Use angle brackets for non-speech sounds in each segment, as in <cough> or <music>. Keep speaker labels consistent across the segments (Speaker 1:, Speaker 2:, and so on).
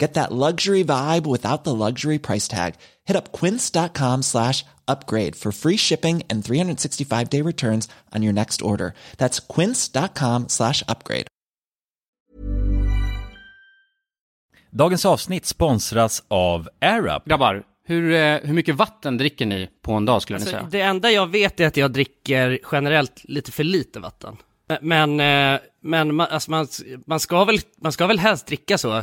Speaker 1: Get that luxury vibe without the luxury price tag. Hit up quince.com slash upgrade for free shipping and 365 day returns on your next order. That's quince.com slash upgrade.
Speaker 2: Dagens avsnitt sponsras av AirUp.
Speaker 3: Grabbar, hur, eh, hur mycket vatten dricker ni på en dag skulle ni
Speaker 4: Alltså,
Speaker 3: säga?
Speaker 4: det enda jag vet är att jag dricker generellt lite för lite vatten. Men, men, eh, men man, alltså man, man, ska väl, man ska väl helst dricka så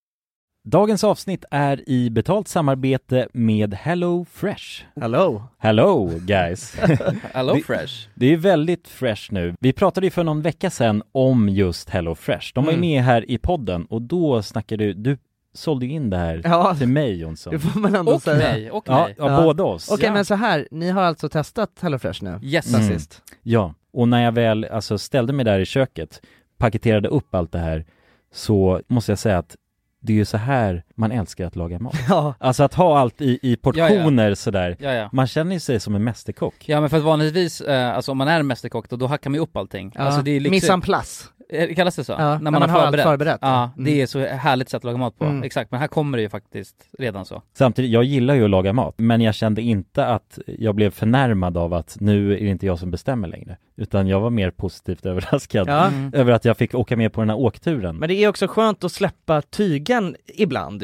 Speaker 2: Dagens avsnitt är i betalt samarbete med Hello Fresh.
Speaker 5: Hello!
Speaker 2: Hello guys! <laughs>
Speaker 5: Hello
Speaker 2: Vi-
Speaker 5: Fresh!
Speaker 2: Det är väldigt fresh nu. Vi pratade ju för någon vecka sedan om just Hello Fresh. De var ju
Speaker 5: Mm.
Speaker 2: med här i podden och då snackade du, du sålde ju in det här
Speaker 5: <laughs> Ja,
Speaker 2: till mig Jonsson.
Speaker 5: det får man ändå
Speaker 3: Och
Speaker 5: säga.
Speaker 3: mig, och
Speaker 2: Ja,
Speaker 3: mig.
Speaker 2: ja,
Speaker 5: Ja.
Speaker 2: båda oss.
Speaker 5: Okej
Speaker 3: Ja.
Speaker 5: men så här, ni har alltså testat Hello Fresh nu?
Speaker 3: Yes.
Speaker 5: Sen
Speaker 2: Mm.
Speaker 5: sist?
Speaker 2: Ja, och när jag väl alltså, ställde mig där i köket, paketerade upp allt det här, så måste jag säga att det är ju så här man älskar att laga mat.
Speaker 5: Ja,
Speaker 2: Alltså att ha allt i, i portioner sådär.
Speaker 6: Ja, ja.
Speaker 2: Man känner ju sig som en mästerkock.
Speaker 6: Ja men för att vanligtvis, eh, alltså om man är en mästerkock då, då hackar man ju upp allting.
Speaker 5: ja.
Speaker 6: Alltså det är lyxigt.
Speaker 5: Miss en place.
Speaker 6: Eh, Kallas det så?
Speaker 5: Ja, när man har allt förberett.
Speaker 6: Ja,
Speaker 5: Mm.
Speaker 6: det är så härligt sätt att laga mat på.
Speaker 5: Mm.
Speaker 6: Exakt, men här kommer det ju faktiskt redan så.
Speaker 2: Samtidigt, jag gillar ju att laga mat, men jag kände inte att jag blev förnärmad av att nu är det inte jag som bestämmer längre. Utan jag var mer positivt <laughs> överraskad
Speaker 5: Ja.
Speaker 2: över att jag fick åka med på den här åkturen.
Speaker 5: Men det är också skönt att släppa tygen ibland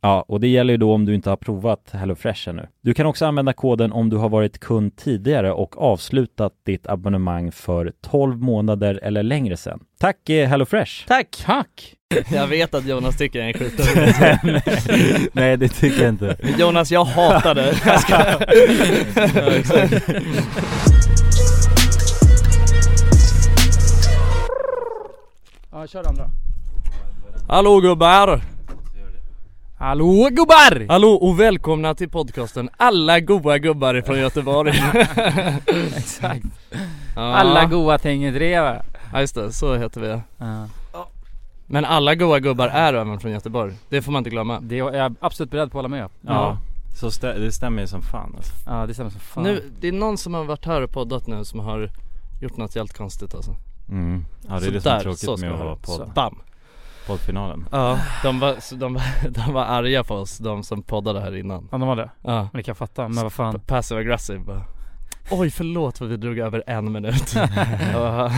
Speaker 2: Ja, och det gäller ju då om du inte har provat HelloFresh ännu. Du kan också använda koden om du har varit kund tidigare och avslutat ditt abonnemang för 12 månader eller längre sedan. Tack eh, HelloFresh!
Speaker 5: Tack!
Speaker 6: Tack!
Speaker 4: Jag vet att Jonas tycker jag är en skit.
Speaker 2: Nej, det tycker jag inte.
Speaker 4: Jonas, jag hatar dig.
Speaker 6: Ja, kör andra.
Speaker 5: <laughs> Hallå gubbar!
Speaker 6: Hallå gubbar!
Speaker 5: Hallå och välkomna till podcasten Alla goa gubbar
Speaker 4: <laughs>
Speaker 5: från Göteborg.
Speaker 6: Exakt.
Speaker 5: Ja.
Speaker 6: Alla goa ting drevar.
Speaker 5: Ja just det, så heter vi. Men alla goa gubbar är även från Göteborg. Det får man inte glömma.
Speaker 6: Det är jag absolut beredd på att hålla med
Speaker 2: Ja. Så stä- det stämmer ju som fan alltså.
Speaker 6: Ja det stämmer som fan.
Speaker 5: Nu, det är någon som har varit här och poddat nu som har gjort något helt konstigt alltså.
Speaker 2: Mm. Ja det är det som är tråkigt med att ha podd,
Speaker 5: Bam!
Speaker 2: poddfinalen.
Speaker 5: Ja, de var, så de, var, <laughs> de var arga på oss, de som poddade här innan.
Speaker 6: Ja de var det.
Speaker 5: Ja.
Speaker 6: Men det kan jag fatta, men vad fan.
Speaker 5: Passive aggressive bara. Oj förlåt vad vi drog över en minut. <laughs> Ja.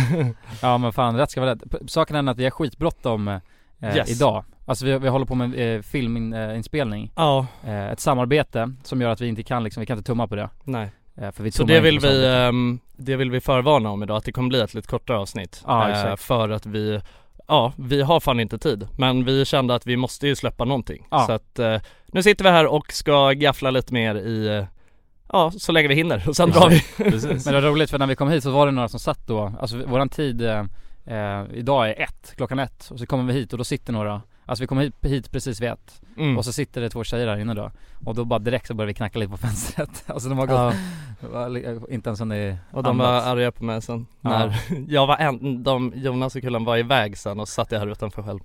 Speaker 6: Ja men fan, rätt ska vara rätt. P- Saken är att vi har skitbråttom eh,
Speaker 5: Yes.
Speaker 6: idag. Alltså vi, vi håller på med eh, filminspelning.
Speaker 5: ja,
Speaker 6: Eh, ett samarbete som gör att vi inte kan liksom, vi kan inte tumma på det.
Speaker 5: nej.
Speaker 6: Eh, för vi
Speaker 5: Så
Speaker 6: tummar
Speaker 5: det
Speaker 6: inte
Speaker 5: vill
Speaker 6: på samarbetet.
Speaker 5: vi, ehm, det vill vi förvarna om idag, att det kommer bli ett lite kortare avsnitt.
Speaker 6: Ja,
Speaker 5: Eh,
Speaker 6: exakt.
Speaker 5: för att vi, ja vi har fan inte tid. Men vi kände att vi måste ju släppa någonting.
Speaker 6: Ja.
Speaker 5: Så att eh, nu sitter vi här och ska gaffla lite mer i, eh, ja så länge vi hinner. Och sen drar vi.
Speaker 2: Precis.
Speaker 6: Men det var roligt för när vi kom hit så var det några som satt då, alltså vi- våran tid eh, eh, idag är ett, klockan ett. Och så kommer vi hit och då sitter några, alltså vi kommer hit, hit precis vid ett.
Speaker 5: Mm.
Speaker 6: Och så sitter det två tjejer här inne då. Och då bara direkt så börjar vi knacka lite på fönstret. <laughs> Alltså de har gått,
Speaker 5: Ja.
Speaker 6: eh, inte ens hunnit
Speaker 5: Och de
Speaker 6: andas.
Speaker 5: var arga på mig sen
Speaker 6: Ja.
Speaker 5: när <laughs> jag var en, de, Jonas och Kullen var iväg sen och så satt jag här utanför själv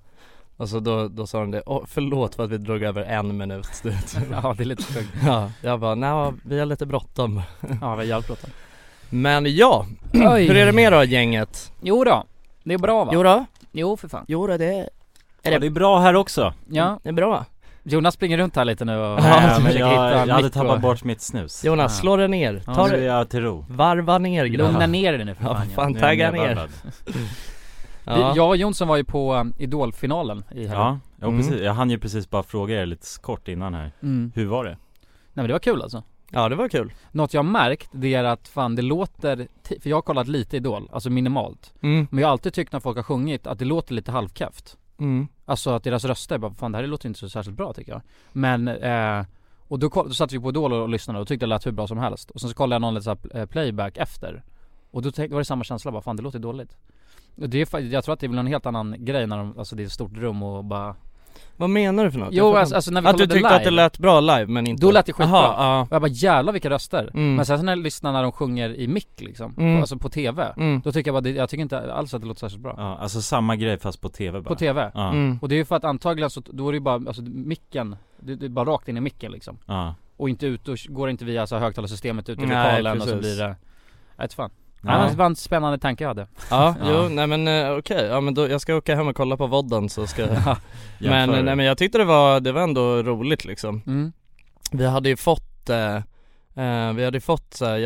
Speaker 5: Och så då, då sa de det, Åh, förlåt för att vi drog över en minut <laughs>
Speaker 6: <laughs> Ja det är lite sjukt.
Speaker 5: Ja, jag bara, nej vi har lite bråttom
Speaker 6: Ja vi har jävligt bråttom.
Speaker 5: Men ja, <clears throat> hur är det med då gänget?
Speaker 6: Jo då, det är bra va? Jo,
Speaker 5: då,
Speaker 6: för fan.
Speaker 5: jo då det,
Speaker 2: Ja, det är bra här också.
Speaker 6: Ja,
Speaker 5: det är bra
Speaker 6: Jonas springer runt här lite nu och
Speaker 2: Ja, men
Speaker 6: försöker hitta
Speaker 2: jag, jag hade
Speaker 6: mitt
Speaker 2: tappat
Speaker 6: och-
Speaker 2: bort mitt snus.
Speaker 5: <laughs> Jonas,
Speaker 6: Ja.
Speaker 5: slå dig ner,
Speaker 2: Ja,
Speaker 5: ta
Speaker 2: nu är
Speaker 5: det,
Speaker 2: jag till ro.
Speaker 5: varva ner
Speaker 6: Lugna
Speaker 5: grabbar
Speaker 6: ner dig nu för
Speaker 5: Ja,
Speaker 6: fan.
Speaker 5: fan
Speaker 2: Nu är
Speaker 5: tagga
Speaker 2: jag
Speaker 5: ner
Speaker 2: nedvarvad.
Speaker 6: Ja.
Speaker 5: ja.
Speaker 6: Jag och Jonsson var ju på um, Idolfinalen i helgen.
Speaker 2: Ja, jo,
Speaker 5: Mm.
Speaker 2: precis. Jag hann ju precis bara fråga er lite kort innan här.
Speaker 6: Mm.
Speaker 2: Hur var det?
Speaker 6: Nej men det var kul alltså.
Speaker 5: ja, det var kul
Speaker 6: Något jag har märkt det är att fan det låter, ti- för jag har kollat lite Idol, alltså minimalt.
Speaker 5: mm.
Speaker 6: Men jag har alltid tyckt när folk har sjungit att det låter lite halvkräft.
Speaker 5: Mm.
Speaker 6: Alltså att deras röster, bara fan det här låter inte så särskilt bra tycker jag. Men, eh, och då, koll- då satt vi på Idol och, och lyssnade och tyckte det lät hur bra som helst. Och sen så kollade jag någon lite så här, eh, playback efter. Och då tänkte, var det samma känsla bara, fan det låter dåligt. Och det är, fa- jag tror att det är väl en helt annan grej när de, alltså det är ett stort rum och bara
Speaker 5: Vad menar du för något? Jag
Speaker 6: Jo
Speaker 5: fattar
Speaker 6: alltså, alltså när vi
Speaker 5: Att du
Speaker 6: kollade
Speaker 5: tyckte
Speaker 6: live
Speaker 5: att det lät bra live men inte
Speaker 6: Då lät det skitbra.
Speaker 5: Aha,
Speaker 6: Och jag bara jävlar vilka röster.
Speaker 5: Mm.
Speaker 6: Men sen så när jag lyssnar när de sjunger i mick liksom,
Speaker 5: Mm.
Speaker 6: på, alltså på TV.
Speaker 5: ja. Mm.
Speaker 6: Då tycker jag bara, det, jag tycker inte alls att det låter särskilt bra.
Speaker 2: Ja, alltså samma grej fast på tv bara.
Speaker 6: På TV.
Speaker 2: Ja,
Speaker 5: Mm.
Speaker 6: Och det är ju för att antagligen så, då är det ju bara, alltså micken, det, det är bara rakt in i micken liksom.
Speaker 2: ja.
Speaker 6: Och inte ut, och går inte via alltså, högtalarsystemet ut i
Speaker 5: Nej,
Speaker 6: lokalen och så
Speaker 5: precis.
Speaker 6: blir det jag vet fan.
Speaker 2: Ja.
Speaker 6: Annars var det en spännande tanke jag hade.
Speaker 5: Ja,
Speaker 2: Ja.
Speaker 5: jo, nej men eh, okej, ja men då, jag ska åka hem och kolla på vodden så
Speaker 6: <laughs>
Speaker 5: ska jag Men
Speaker 2: Jämför.
Speaker 5: eh, nej men jag tyckte det var, det var ändå roligt liksom
Speaker 6: Mm.
Speaker 5: Vi hade ju fått eh, eh, vi hade ju fått så här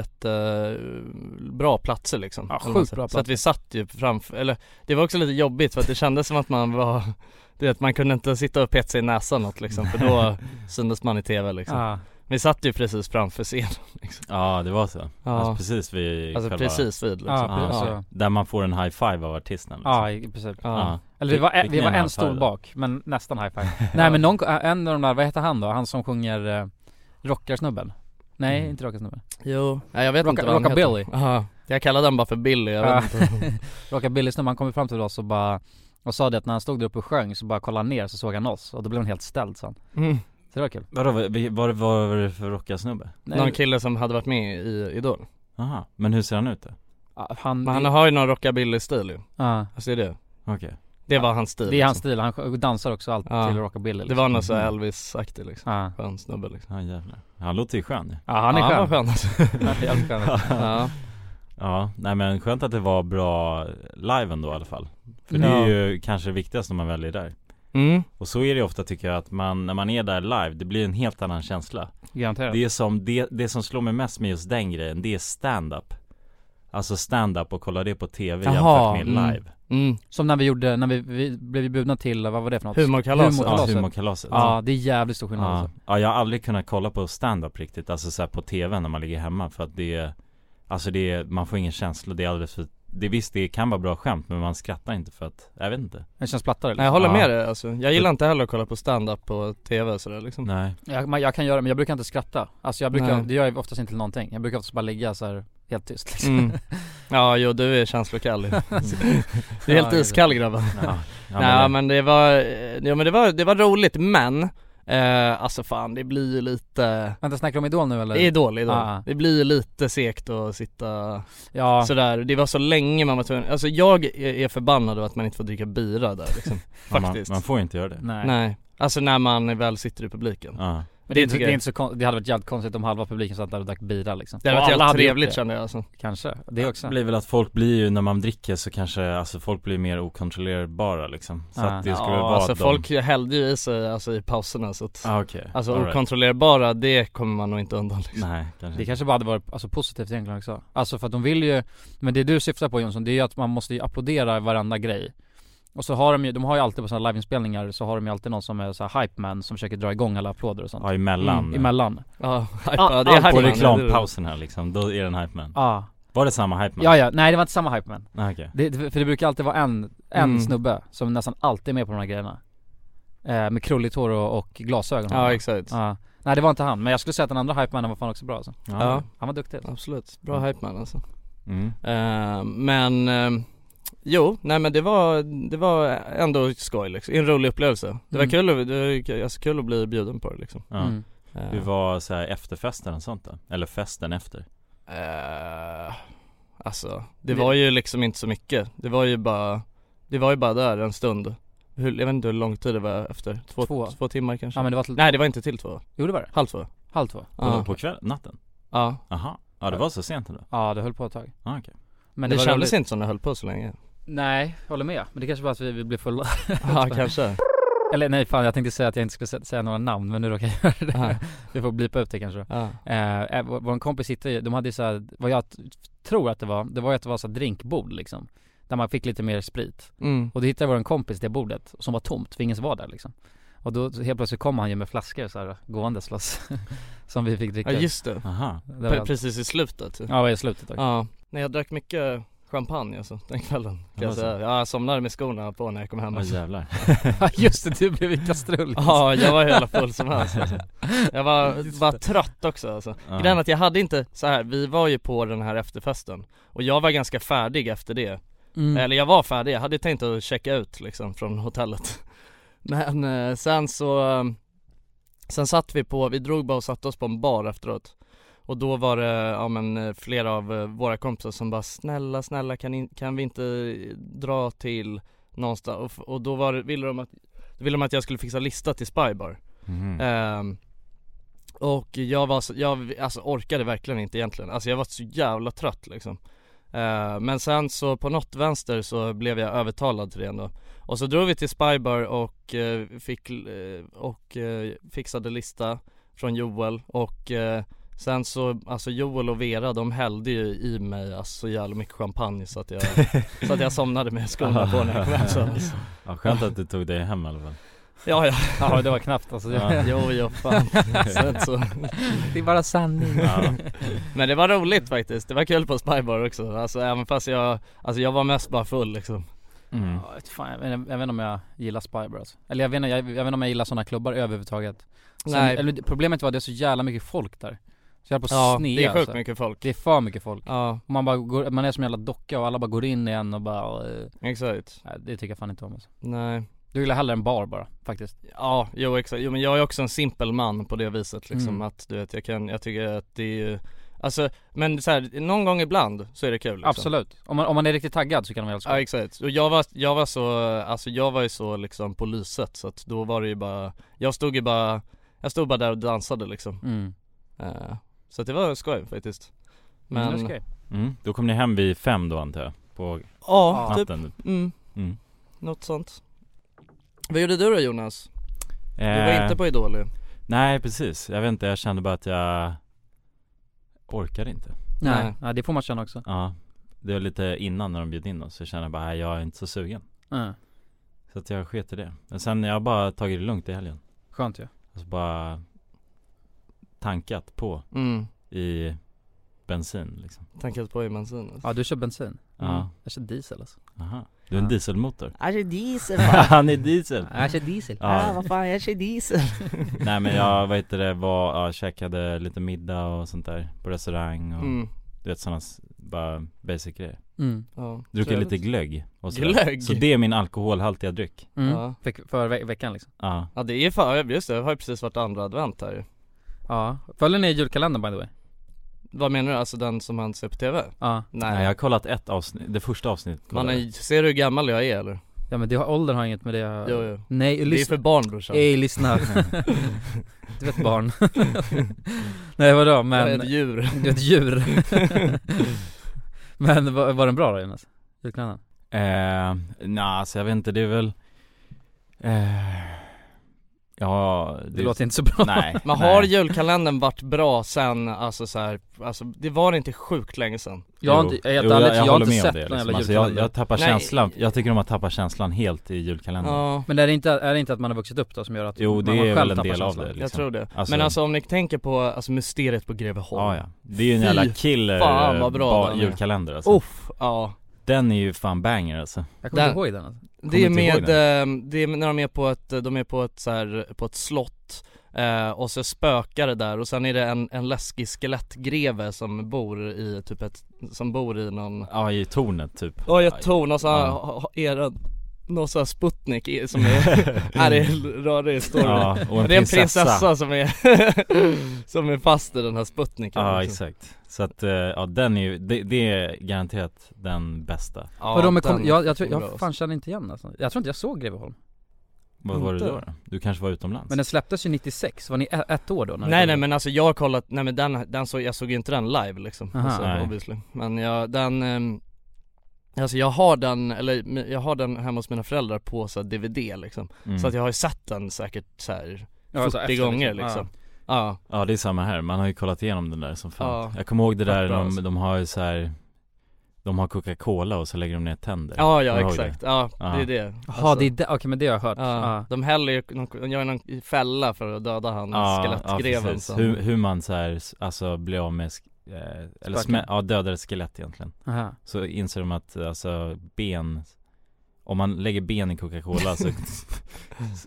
Speaker 5: jättebra platser liksom
Speaker 6: Ja,
Speaker 5: Eller vad
Speaker 6: sjukt
Speaker 5: man säger.
Speaker 6: bra
Speaker 5: Så att
Speaker 6: platser.
Speaker 5: vi satt ju framför, eller det var också lite jobbigt för att det kändes som att man var <laughs> Du vet man kunde inte sitta och petsa i näsan något liksom för då syntes man i tv liksom
Speaker 6: Ja.
Speaker 5: Vi satt ju precis framför scenen <laughs> liksom
Speaker 2: Ja, det var så.
Speaker 5: Ja,
Speaker 2: Alltså
Speaker 5: alltså,
Speaker 2: precis vid själva...
Speaker 5: precis vid liksom
Speaker 6: Ja,
Speaker 2: Ja,
Speaker 6: alltså,
Speaker 2: Där man får en high five av artisten liksom.
Speaker 6: ja, i princip.
Speaker 5: ja.
Speaker 6: Eller vi var, en-
Speaker 2: Fick
Speaker 6: vi
Speaker 2: ni
Speaker 6: var
Speaker 2: en
Speaker 6: en
Speaker 2: high five
Speaker 6: stol
Speaker 2: då?
Speaker 6: bak, men nästan high
Speaker 5: <laughs>
Speaker 6: five Nej men någon, en av de där, vad heter han då? Han som sjunger eh, Rockarsnubben? Nej,
Speaker 2: Mm.
Speaker 6: inte Rockarsnubben
Speaker 5: Jo, nej, jag vet
Speaker 6: Rocka-
Speaker 5: inte vad han heter
Speaker 6: Rockabilly.
Speaker 5: Ja, jag kallar den bara för Billy, jag
Speaker 6: Ja.
Speaker 5: vet
Speaker 6: <laughs>
Speaker 5: inte
Speaker 6: Rockabilly-snubben, han kom fram till oss och bara Och sa det att när han stod där uppe och sjöng så bara kollade han ner så såg han oss och då blev han helt ställd sen
Speaker 5: mm.
Speaker 6: Så det var kul
Speaker 2: Vadå, vad vad- vad var det för rockarsnubbe?
Speaker 5: Någon kille som hade varit med i Idol
Speaker 2: Aha, men hur ser han ut då?
Speaker 6: Ja, han,
Speaker 5: Men han
Speaker 6: det,
Speaker 5: har ju någon rockabilly-stil ju,
Speaker 6: ja,
Speaker 5: alltså det är det
Speaker 2: Okej
Speaker 5: Det var hans stil
Speaker 6: det är hans
Speaker 5: liksom.
Speaker 6: stil, han sj- dansar också alltid
Speaker 5: Ja.
Speaker 6: till Rockabilly liksom.
Speaker 5: Det var någon så här
Speaker 2: Mhm.
Speaker 5: Elvis-aktig liksom,
Speaker 6: ja.
Speaker 5: skön snubbe liksom
Speaker 2: Ja jävlar, han låter ju skön ju.
Speaker 6: ja, han är
Speaker 5: ja,
Speaker 6: skön,
Speaker 5: var skön
Speaker 6: <laughs>
Speaker 5: alltså.
Speaker 6: Han är
Speaker 5: <laughs>
Speaker 6: jävligt skön.
Speaker 5: ja.
Speaker 2: Ja, nej men skönt att det var bra live ändå i alla fall För det är ju kanske det viktigaste när man väljer där
Speaker 5: Mm.
Speaker 2: Och så är det ofta tycker jag att man, när man är där live, det blir en helt annan känsla
Speaker 6: Garanterat
Speaker 2: Det är som, det, det som slår mig mest med just den grejen, det är stand-up Alltså stand-up och kolla det på tv
Speaker 6: Jaha,
Speaker 2: jämfört
Speaker 5: mm.
Speaker 2: med live
Speaker 5: Mm.
Speaker 6: Som när vi gjorde, när vi, vi blev bjudna till, vad var det för något?
Speaker 5: Humorkalaset.
Speaker 2: Ja,
Speaker 6: Humorkalaset.
Speaker 2: humorkalaset
Speaker 6: Ja, det är jävligt stor skillnad
Speaker 2: Ja.
Speaker 6: alltså.
Speaker 2: ja, jag har aldrig kunnat kolla på stand-up riktigt, alltså så här på tv när man ligger hemma för att det är Alltså det är, man får ingen känsla, det är alldeles för det, Visst det kan vara bra skämt men man skrattar inte för att, jag vet inte
Speaker 6: Det känns plattare liksom.
Speaker 5: Nej, jag håller
Speaker 2: Ja.
Speaker 5: med dig alltså. Jag gillar inte heller att kolla på stand-up på tv och sådär liksom
Speaker 2: Nej
Speaker 6: Jag, man, jag kan göra det men jag brukar inte skratta. Alltså jag brukar,
Speaker 5: Nej.
Speaker 6: det gör jag oftast inte till någonting. Jag brukar oftast bara ligga så här helt tyst liksom.
Speaker 5: Mm. Ja, jo du är
Speaker 6: <laughs>
Speaker 5: känslokall ju. Mm. Du är
Speaker 6: Ja,
Speaker 5: helt
Speaker 6: det är
Speaker 5: iskall grabben.
Speaker 2: Ja,
Speaker 5: <laughs>
Speaker 2: ja,
Speaker 5: Nej
Speaker 2: men-
Speaker 5: men det var, eh, ja men det var, det var roligt men, eh, alltså fan det blir ju lite
Speaker 6: Vänta, snackar du om Idol nu eller?
Speaker 5: Det är dåligt då.
Speaker 6: Ah.
Speaker 5: Det blir ju lite segt att sitta
Speaker 6: ja,
Speaker 5: sådär, det var så länge man var tvungen, alltså jag är- är förbannad över att man inte får dricka bira där liksom.
Speaker 2: <laughs> man-
Speaker 5: faktiskt.
Speaker 2: Man får inte göra det
Speaker 6: nej.
Speaker 5: Nej, alltså när man väl sitter i publiken.
Speaker 2: Ja,
Speaker 6: Men det är,
Speaker 5: Det
Speaker 6: inte,
Speaker 5: tycker
Speaker 6: det är
Speaker 5: jag.
Speaker 6: inte så kon- det hade varit jävligt konstigt om halva publiken satt där och drack bira liksom.
Speaker 5: Det hade
Speaker 6: Och
Speaker 5: varit
Speaker 6: alla
Speaker 5: jävligt
Speaker 6: hade gjort
Speaker 5: trevligt
Speaker 6: det.
Speaker 5: kände jag alltså.
Speaker 6: Kanske, det också.
Speaker 2: Det blir väl att folk blir ju, när man dricker så kanske, alltså folk blir mer okontrollerbara liksom Så
Speaker 6: Ah.
Speaker 2: att det skulle väl
Speaker 5: Ja,
Speaker 2: vara
Speaker 5: alltså
Speaker 2: att de-
Speaker 5: folk hällde ju i sig alltså, i pauserna så att,
Speaker 2: ah, okej
Speaker 5: alltså
Speaker 2: All right.
Speaker 5: okontrollerbara det kommer man nog inte undan liksom.
Speaker 2: Nej, kanske
Speaker 6: Det
Speaker 2: inte.
Speaker 6: kanske bara hade varit alltså, positivt egentligen också. Alltså för att de vill ju, men det du syftar på Jonsson, det är ju att man måste ju applådera varenda grej. Och så har de ju, de har ju alltid på sådana liveinspelningar så har de ju alltid någon som är så här hype man som försöker dra igång alla applåder och sånt.
Speaker 2: Ja, emellan
Speaker 6: Mm, emellan.
Speaker 5: Ja,
Speaker 6: Ja,
Speaker 5: hypa, det är
Speaker 6: allt
Speaker 2: På
Speaker 5: hype man.
Speaker 2: reklampausen här liksom, då är den hype man
Speaker 6: Ja.
Speaker 2: Var det samma hype man?
Speaker 6: Ah. ja, ja, nej det var inte samma hype man.
Speaker 2: Ah, okej.
Speaker 6: Det, det- för det brukar alltid vara en, en
Speaker 5: Mm.
Speaker 6: snubbe som nästan alltid är med på de här grejerna. Eh, med krulligt hår och, och glasögon.
Speaker 5: Ja exakt.
Speaker 6: Ja. Nej det var inte han, men jag skulle säga att den andra hypemannen var fan också bra alltså.
Speaker 5: Ja.
Speaker 6: Han var duktig alltså.
Speaker 5: Absolut, bra hype man alltså.
Speaker 2: Mm.
Speaker 5: Eh, men, eh, jo, nej men det var, det var ändå skoj liksom. En rolig upplevelse. Det var
Speaker 6: Mm.
Speaker 5: kul, att- det var ju- alltså, kul att bli bjuden på det liksom.
Speaker 2: Ja.
Speaker 6: Mm.
Speaker 5: Eh,
Speaker 2: Hur var så här efterfesten och sånt då? Eller festen efter?
Speaker 5: eh, alltså, det var ju liksom inte så mycket. Det var ju bara, det var ju bara där en stund. Hur, jag vet inte hur lång tid det var efter. Två,
Speaker 6: Två.
Speaker 5: två. timmar kanske?
Speaker 6: Ja men det var till,
Speaker 5: Nej det var inte till två,
Speaker 6: jo det var det.
Speaker 5: halv två.
Speaker 6: Halv två.
Speaker 5: Ja.
Speaker 2: På kvällen? Natten?
Speaker 5: ja.
Speaker 2: Aha. Ja det var så sent ändå?
Speaker 6: Ja det höll på ett tag.
Speaker 2: Ah, okej
Speaker 6: Men
Speaker 5: det,
Speaker 6: var
Speaker 5: kändes
Speaker 6: roligt.
Speaker 5: inte som det höll på så länge.
Speaker 6: Nej, jag håller med. Men det kanske bara att vi, vi blev fulla.
Speaker 5: <laughs> Ja kanske.
Speaker 6: Eller nej fan jag tänkte säga att jag inte skulle sä- säga några namn men nu råkar jag göra det.
Speaker 5: Ja.
Speaker 6: <laughs> Vi får blipa ut det kanske.
Speaker 5: Ja.
Speaker 6: Eh, eh, vår, vår kompis hittade ju, de hade ju så här, vad jag t- tror att det var, det var ju att det var så här drinkbord liksom. Där man fick lite mer sprit.
Speaker 5: Mm.
Speaker 6: Och då hittade vår kompis det bordet som var tomt för ingen var där liksom. Och då så helt plötsligt kom han ju med flaskor så här gåendes loss. <laughs> som vi fick dricka.
Speaker 5: Ja just det.
Speaker 2: Aha
Speaker 6: Det var allt.
Speaker 5: Precis i slutet.
Speaker 6: Ja, det var i slutet också.
Speaker 5: Ja, nej jag drack mycket champagne alltså den kvällen kan
Speaker 2: Det var
Speaker 5: jag säga. Ja, jag somnade med skorna på när jag kom hem
Speaker 2: Åh
Speaker 5: alltså.
Speaker 2: jävlar
Speaker 6: <laughs> Ja just det, du blev i kastrull.
Speaker 5: Ja, jag var hur jävla full som helst alltså. Jag var, var trött också alltså.
Speaker 2: Ja.
Speaker 5: Grejen är att jag hade inte, så här, vi var ju på den här efterfesten Och jag var ganska färdig efter det
Speaker 6: Mm.
Speaker 5: Eller jag var färdig, jag hade tänkt att checka ut liksom från hotellet <laughs> Men eh, sen så eh, Sen satt vi på, vi drog bara och satte oss på en bar efteråt Och då var det, ja men eh, flera av eh, våra kompisar som bara Snälla, snälla kan, in, kan vi inte dra till någonstans? Och, f- och då var, det- ville de att då ville de att jag skulle fixa lista till Spybar
Speaker 2: Mhm.
Speaker 5: Ehm, och jag var så, jag alltså orkade verkligen inte egentligen, alltså jag var så jävla trött liksom Ehm, Men sen så på något vänster så blev jag övertalad till det ändå Och så drog vi till Spybar och eh, fick, eh, och eh, fixade lista från Joel och eh, Sen så, alltså Joel och Vera de hällde ju i mig alltså så jävla mycket champagne så att jag, så att jag somnade med skorna på när jag kom hem så alltså.
Speaker 2: Ja, skönt att du tog dig hem i alla fall
Speaker 5: Ja ja,
Speaker 6: Ja det var knappt alltså.
Speaker 2: Ja.
Speaker 5: <laughs> jo jo fan, så, inte så.
Speaker 6: Det är bara sanning.
Speaker 5: Mm.
Speaker 2: Ja.
Speaker 5: Men det var roligt faktiskt, det var kul på Spybar också, alltså även fast jag, alltså jag var mest bara full liksom
Speaker 2: Mm.
Speaker 6: Ja, vet fan, jag, vet, jag vet inte om jag gillar Spybar alltså. Eller jag vet, inte, jag, jag vet inte om jag gillar sådana klubbar överhuvudtaget. Sen,
Speaker 5: Nej.
Speaker 6: Eller, det- problemet var att det är så jävla mycket folk där. Så jag höll på att
Speaker 5: Ja,
Speaker 6: snea
Speaker 5: det är sjukt
Speaker 6: alltså.
Speaker 5: mycket folk
Speaker 6: Det är för mycket folk.
Speaker 5: Ja,
Speaker 6: Och Man, bara går, man är som en jävla docka och alla bara går in igen och bara, eh,
Speaker 5: exakt,
Speaker 6: nej, det tycker jag fan inte om alltså.
Speaker 5: nej
Speaker 6: Du gillar hellre en bar bara, faktiskt. Liksom.
Speaker 5: Ja, jo exakt, jo men jag är också en simpel man på det viset liksom
Speaker 6: Mm.
Speaker 5: att du vet jag kan, jag tycker att det är ju Alltså, men så här, någon gång ibland så är det kul liksom.
Speaker 6: Absolut. Om man, om man är riktigt taggad så kan man väl
Speaker 5: Ja
Speaker 6: skoj.
Speaker 5: exakt, och jag var, jag var så, alltså jag var ju så liksom på lyset så att då var det ju bara, jag stod ju bara, jag stod bara där och dansade liksom
Speaker 6: Mm.
Speaker 5: Eh, Så att det var skoj faktiskt Men,
Speaker 6: Men... Mm,
Speaker 2: Mm. Då kom ni hem vid fem då antar jag? På
Speaker 5: ja, typ
Speaker 2: natten?
Speaker 5: Mm.
Speaker 2: Mm.
Speaker 5: Något sånt. Vad gjorde du då Jonas? Du
Speaker 2: Eh,
Speaker 5: var inte på Idol ju.
Speaker 2: Nej precis, jag vet inte, jag kände bara att jag orkade inte
Speaker 6: nej.
Speaker 5: Nej.
Speaker 6: nej, det får man känna också.
Speaker 2: Ja, det var lite innan när de bjöd in oss, så jag kände bara, nej jag är inte så sugen
Speaker 6: Mm.
Speaker 2: Så att jag sket i det Men sen, jag har bara tagit det lugnt i helgen
Speaker 6: Skönt ju.
Speaker 2: Alltså bara tankat på
Speaker 5: Mm.
Speaker 2: i bensin liksom
Speaker 5: Tankat på i bensin alltså.
Speaker 6: Ja du kör bensin.
Speaker 2: Ja,
Speaker 6: Jag kör diesel alltså.
Speaker 2: aha Du är en
Speaker 6: Ja.
Speaker 2: dieselmotor
Speaker 5: Jag kör
Speaker 2: <laughs>
Speaker 5: diesel
Speaker 2: Han är diesel!
Speaker 6: Jag Äh, kör diesel.
Speaker 2: Ja,
Speaker 5: vad fan jag kör diesel.
Speaker 2: nej men jag, vad heter det, var, ja, käkade lite middag och sånt där på restaurang och
Speaker 5: Mm.
Speaker 2: Du vet sådana bara basic grejer
Speaker 6: Mm.
Speaker 4: Ja.
Speaker 2: Druckit
Speaker 4: Trevligt.
Speaker 2: lite glögg och så.
Speaker 5: Glögg?
Speaker 2: Så det är min alkoholhaltiga dryck
Speaker 6: Mm.
Speaker 4: Ja.
Speaker 6: För, för ve veckan liksom
Speaker 2: Ja
Speaker 5: Ja det är ju fan, just det, det har ju precis varit andra advent här ju.
Speaker 6: Ja, följer ni julkalendern by the way?
Speaker 5: Vad menar du, alltså den som han ser på TV?
Speaker 6: Ja,
Speaker 2: Nej. jag har kollat ett avsnitt, det första avsnittet
Speaker 5: Man
Speaker 2: kollade jag.
Speaker 5: är, ser du hur gammal jag är eller?
Speaker 6: ja men det har, ålder har inget med det
Speaker 5: Jo, jo.
Speaker 6: Nej,
Speaker 5: Det är för
Speaker 6: lyssna,
Speaker 5: barn brorsan.
Speaker 2: Eh, <laughs>
Speaker 6: ej lyssna Du vet barn <laughs> Nej vadå
Speaker 5: Jag är
Speaker 6: men,
Speaker 5: ett djur.
Speaker 6: du är <laughs> ett djur
Speaker 2: <laughs>
Speaker 6: Men var, var den bra då Jonas? Julkalendern?
Speaker 2: Eh, nej alltså jag vet inte, det är väl eh, Ja,
Speaker 6: Det, låter inte så bra
Speaker 2: Nej,
Speaker 5: Men
Speaker 2: nej.
Speaker 5: har julkalendern varit bra sen, alltså så här, alltså det var inte sjukt länge sen.
Speaker 6: Jag har
Speaker 2: Jo.
Speaker 6: inte, jag, är helt
Speaker 2: Jo,
Speaker 6: ärligt, jag, har
Speaker 2: håller
Speaker 6: inte
Speaker 2: med om
Speaker 6: sett
Speaker 2: det,
Speaker 6: någon jävla
Speaker 2: liksom. alltså, jag,
Speaker 6: julkalender
Speaker 2: jag tappar
Speaker 5: Nej.
Speaker 2: känslan, jag tycker om att tappa känslan helt i julkalendern
Speaker 5: Ja,
Speaker 6: Men är det, inte, är det inte att man har vuxit upp då som gör att
Speaker 2: Jo, det
Speaker 6: man
Speaker 2: är
Speaker 6: själv
Speaker 2: väl en
Speaker 6: tappar
Speaker 2: del av
Speaker 6: känslan?
Speaker 2: det liksom.
Speaker 5: jag tror det.
Speaker 2: Alltså-
Speaker 5: Men alltså om ni tänker på, alltså mysteriet på Greveholm.
Speaker 2: Ja, ja. Det är ju en jävla killer
Speaker 5: fan, vad
Speaker 2: eh,
Speaker 5: bra Oh.
Speaker 2: ba-
Speaker 5: den är.
Speaker 2: julkalender alltså.
Speaker 5: Uff, ja.
Speaker 2: Den är ju fan banger alltså
Speaker 6: Jag kommer
Speaker 5: Där-
Speaker 6: inte ihåg den alltså.
Speaker 5: Det är
Speaker 2: inte
Speaker 5: med,
Speaker 2: ihåg
Speaker 5: eh, det är när de är på ett, de är på ett så här, på ett slott eh, och så spökar det där och sen är det en, en läskig skelettgreve som bor i typ ett, som bor i någon
Speaker 2: Ja, i tornet typ
Speaker 5: Ja jag tror någon sån här,
Speaker 2: Ja.
Speaker 5: ha- ha- är det någon sån här Sputnik i- som
Speaker 2: <laughs>
Speaker 5: är, är det är rörig historia
Speaker 2: Ja, och en
Speaker 5: Det är en
Speaker 2: prinsessa.
Speaker 5: prinsessa som är, som är <laughs> fast i den här Sputniken
Speaker 2: Ja,
Speaker 5: liksom.
Speaker 2: exakt. Så att, eh, ja den är ju, det, det är garanterat den bästa
Speaker 5: ja,
Speaker 6: Vadå, men kom,
Speaker 5: den
Speaker 6: jag, jag, tror,
Speaker 5: förlorar
Speaker 6: jag
Speaker 5: oss.
Speaker 6: fan känner inte igen alltså. Jag tror inte jag såg Greveholm
Speaker 2: Vad var du
Speaker 5: Inte.
Speaker 2: då? då? Du kanske var utomlands?
Speaker 6: Men den släpptes ju 96, var ni e- ett år då? när den
Speaker 5: Nej
Speaker 6: kom
Speaker 5: nej
Speaker 6: ut?
Speaker 5: men alltså jag har kollat, nej men den, den såg, jag såg ju inte den live liksom
Speaker 6: Aha,
Speaker 5: alltså,
Speaker 2: nej.
Speaker 5: obviously. Men jag, den ehm, Alltså jag har den, eller jag har den hemma hos mina föräldrar på så här, DVD liksom
Speaker 2: Mm.
Speaker 5: Så att jag har ju sett den säkert så här
Speaker 6: Ja, alltså
Speaker 5: 40
Speaker 6: efter,
Speaker 5: gånger
Speaker 6: liksom.
Speaker 5: liksom Ja,
Speaker 2: Ja det är samma här, man har ju kollat igenom den där som fan
Speaker 5: Ja.
Speaker 2: Jag kommer ihåg det där,
Speaker 5: Fett bra,
Speaker 2: de,
Speaker 5: alltså.
Speaker 2: de har ju så här. De har Coca-Cola och så lägger de ner tänder
Speaker 5: ja, ja,
Speaker 2: Kommer du ihåg Ah.
Speaker 5: exakt, ja,
Speaker 2: Ja.
Speaker 5: det är det
Speaker 6: Jaha,
Speaker 5: Alltså-
Speaker 6: det är Ah. det, okej men det har jag hört.
Speaker 5: Ja,
Speaker 6: Ja.
Speaker 5: de häller ju, de de gör någon fälla för att döda han skelettgreven
Speaker 2: Ah, precis.
Speaker 5: som-
Speaker 2: hur, hur man så här, s- alltså blir av med, sk- eh, eller
Speaker 6: Spöken.
Speaker 2: smä, ja, dödar ett skelett egentligen
Speaker 6: Aha.
Speaker 2: Så inser de att alltså ben, om man lägger ben i Coca-Cola
Speaker 5: <laughs>
Speaker 2: så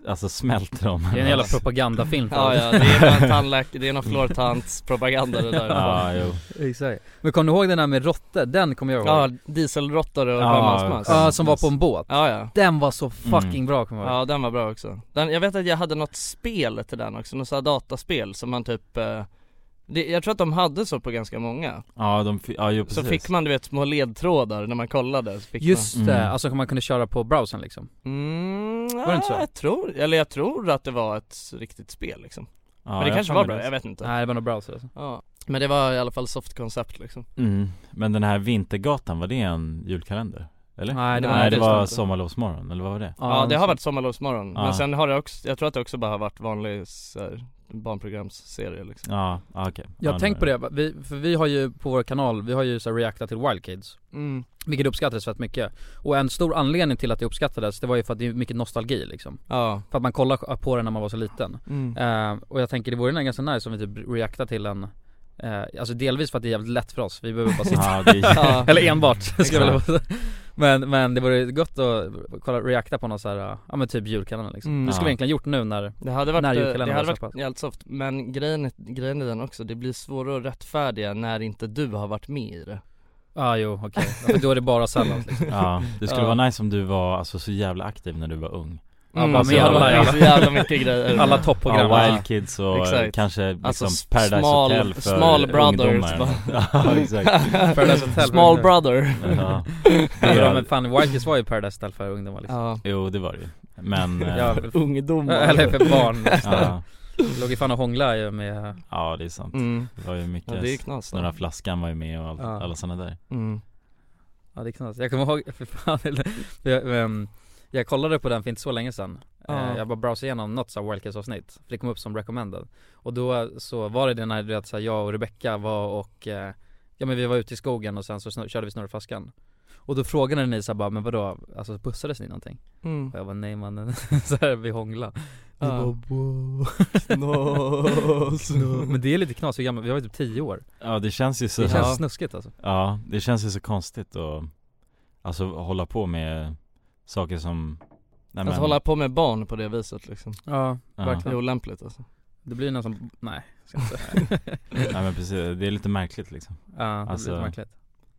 Speaker 2: Alltså smälter de
Speaker 6: Det är en jävla propagandafilm för
Speaker 5: Ja,
Speaker 6: allt.
Speaker 5: ja, det är bara en tandläk, det är någon fluortantspropaganda det där
Speaker 2: <laughs> Ja, jo.
Speaker 6: <laughs> Exakt. Men kommer du ihåg den där med råttor? Den kommer jag ihåg.
Speaker 5: Ja, dieselråttor och
Speaker 2: Ja,
Speaker 5: sjömansmöss
Speaker 6: Ja, som var på en båt.
Speaker 5: Ja ja,
Speaker 6: Den var så fucking
Speaker 2: Mm.
Speaker 6: bra kommer jag ihåg.
Speaker 5: ja den var bra också den, Jag vet att jag hade något spel till den också, något sånt här dataspel som man typ eh, det, Jag tror att de hade så på ganska många
Speaker 2: ja, de, fi- ja jo,
Speaker 5: Så
Speaker 2: precis.
Speaker 5: fick man du vet små ledtrådar när man kollade så fick
Speaker 6: Just
Speaker 2: Mm.
Speaker 6: det, alltså man kunde köra på browsern liksom.
Speaker 5: man, mm,
Speaker 6: Var det inte så?
Speaker 5: ja, Jag tror, eller jag tror att det var ett riktigt spel liksom
Speaker 2: ja,
Speaker 5: Men det
Speaker 2: jag
Speaker 5: kanske
Speaker 2: har
Speaker 5: var
Speaker 2: för mig
Speaker 5: bra, jag vet inte
Speaker 6: Nej det var nog browser alltså.
Speaker 5: Ja, men det var i alla fall soft koncept liksom
Speaker 2: Mm. Men den här Vintergatan, var det en julkalender? Eller?
Speaker 6: Nej, det
Speaker 5: var-
Speaker 2: Nej,
Speaker 5: det
Speaker 2: det var
Speaker 5: inte.
Speaker 2: Sommarlovsmorgon, eller vad var det?
Speaker 5: Ja, det har varit sommarlovsmorgon,
Speaker 2: Ja.
Speaker 5: men sen har det också, jag tror att det också bara har varit vanlig så här, barnprogramsserie liksom
Speaker 2: Ja, ja, okej
Speaker 6: Jag
Speaker 2: ja,
Speaker 6: har tänkt på det, vi, för vi har ju på vår kanal, vi har ju så här reactat till Wild Kids.
Speaker 5: mm.
Speaker 6: Vilket uppskattades väldigt mycket. Och en stor anledning till att det uppskattades, det var ju för att det är mycket nostalgi liksom.
Speaker 5: Ja,
Speaker 6: För att man kollar på den när man var så liten.
Speaker 5: mm.
Speaker 6: Eh, och jag tänker det vore nog ganska nice om vi typ reactar till en eh, Alltså delvis för att det är jävligt lätt för oss, vi behöver bara sitta
Speaker 2: Ja, det är...
Speaker 5: <laughs> ja.
Speaker 6: Eller enbart, ska jag väl säga. <laughs> men, men det vore gott att kolla, reacta på någon så här, eh, ja men typ julkalendern liksom
Speaker 5: Mm.
Speaker 6: Det skulle
Speaker 2: Ja.
Speaker 6: vi egentligen gjort nu när
Speaker 5: Det hade varit,
Speaker 6: När
Speaker 5: eh,
Speaker 6: julkalendern
Speaker 5: det hade
Speaker 6: var
Speaker 5: varit
Speaker 6: släppt.
Speaker 5: jävligt soft, men grejen, är- grejen är den också, det blir svårare att rättfärdiga när inte du har varit med i
Speaker 2: Mm.
Speaker 5: det
Speaker 6: Ja ah, jo okej, Ja, för då är det bara sallad liksom.
Speaker 2: ja, det skulle
Speaker 5: Ja.
Speaker 2: vara nice om du var alltså, så jävla aktiv när du var ung
Speaker 6: Ja, bara
Speaker 5: så
Speaker 6: med
Speaker 5: jävla-
Speaker 6: alla-
Speaker 5: det är så jävla mycket
Speaker 2: <laughs>
Speaker 5: grejer
Speaker 6: Alla topprogram
Speaker 2: ja, Wild Kids och
Speaker 5: Exakt.
Speaker 2: kanske liksom
Speaker 5: Alltså, s-
Speaker 2: Paradise
Speaker 5: small-
Speaker 2: Hotel för
Speaker 5: small brothers,
Speaker 2: ungdomar
Speaker 5: va?
Speaker 2: <laughs> Ja,
Speaker 5: <laughs>
Speaker 2: exakt
Speaker 6: Alltså, Paradise Hotel
Speaker 5: Small brother
Speaker 2: ja.
Speaker 6: Ja
Speaker 2: ja,
Speaker 6: men fan Wild Kids var ju Paradise Hotel för ungdomar liksom
Speaker 5: Ja,
Speaker 2: Jo, det var det ju Men, eh,
Speaker 6: ja.
Speaker 2: ja,
Speaker 5: ungdomar
Speaker 6: Eller för barn,
Speaker 2: ja,
Speaker 6: låg ju fan och hånglade ju med
Speaker 2: det är sant
Speaker 5: mm.
Speaker 2: Det var ju mycket
Speaker 5: Ja det är knas då.
Speaker 2: Snurra flaskan var ju med och all,
Speaker 6: Ja.
Speaker 2: alla sådana där
Speaker 5: mm.
Speaker 6: Ja det kan jag kommer ihåg, <laughs> för fan, eller- jag, ehm, jag kollade på den för inte så länge sedan
Speaker 5: Ja.
Speaker 6: Eh, Jag bara browsade igenom något såhär Wildcats avsnitt, för det kom upp som recommended Och då eh, så var det det när du vet, så här, jag och Rebecca var och, eh, ja men vi var ute i skogen och sen så snur, körde vi snurrflaskan Och då frågade ni såhär bara, men vadå, alltså bussades ni någonting?
Speaker 5: Mm.
Speaker 6: Och jag bara nej mannen, <laughs> såhär vi hånglade
Speaker 5: Ja.
Speaker 6: Ni bara, wow.
Speaker 5: <laughs> Knas.
Speaker 6: Men det är lite knas, hur gammal, vi var ju typ 10 år
Speaker 2: Ja, det känns ju så
Speaker 6: Det känns
Speaker 2: ja.
Speaker 6: snuskigt alltså
Speaker 2: Ja, det känns ju så konstigt att Alltså hålla på med saker som nej,
Speaker 5: Alltså, Att hålla på med barn på det viset liksom,
Speaker 6: Ja,
Speaker 2: ja.
Speaker 5: det är olämpligt alltså
Speaker 6: Det blir någon som, nej, ska jag
Speaker 2: <laughs>
Speaker 6: inte säga.
Speaker 2: Nej men precis, det är lite märkligt liksom
Speaker 6: Ja, det
Speaker 2: Alltså-
Speaker 6: blir lite märkligt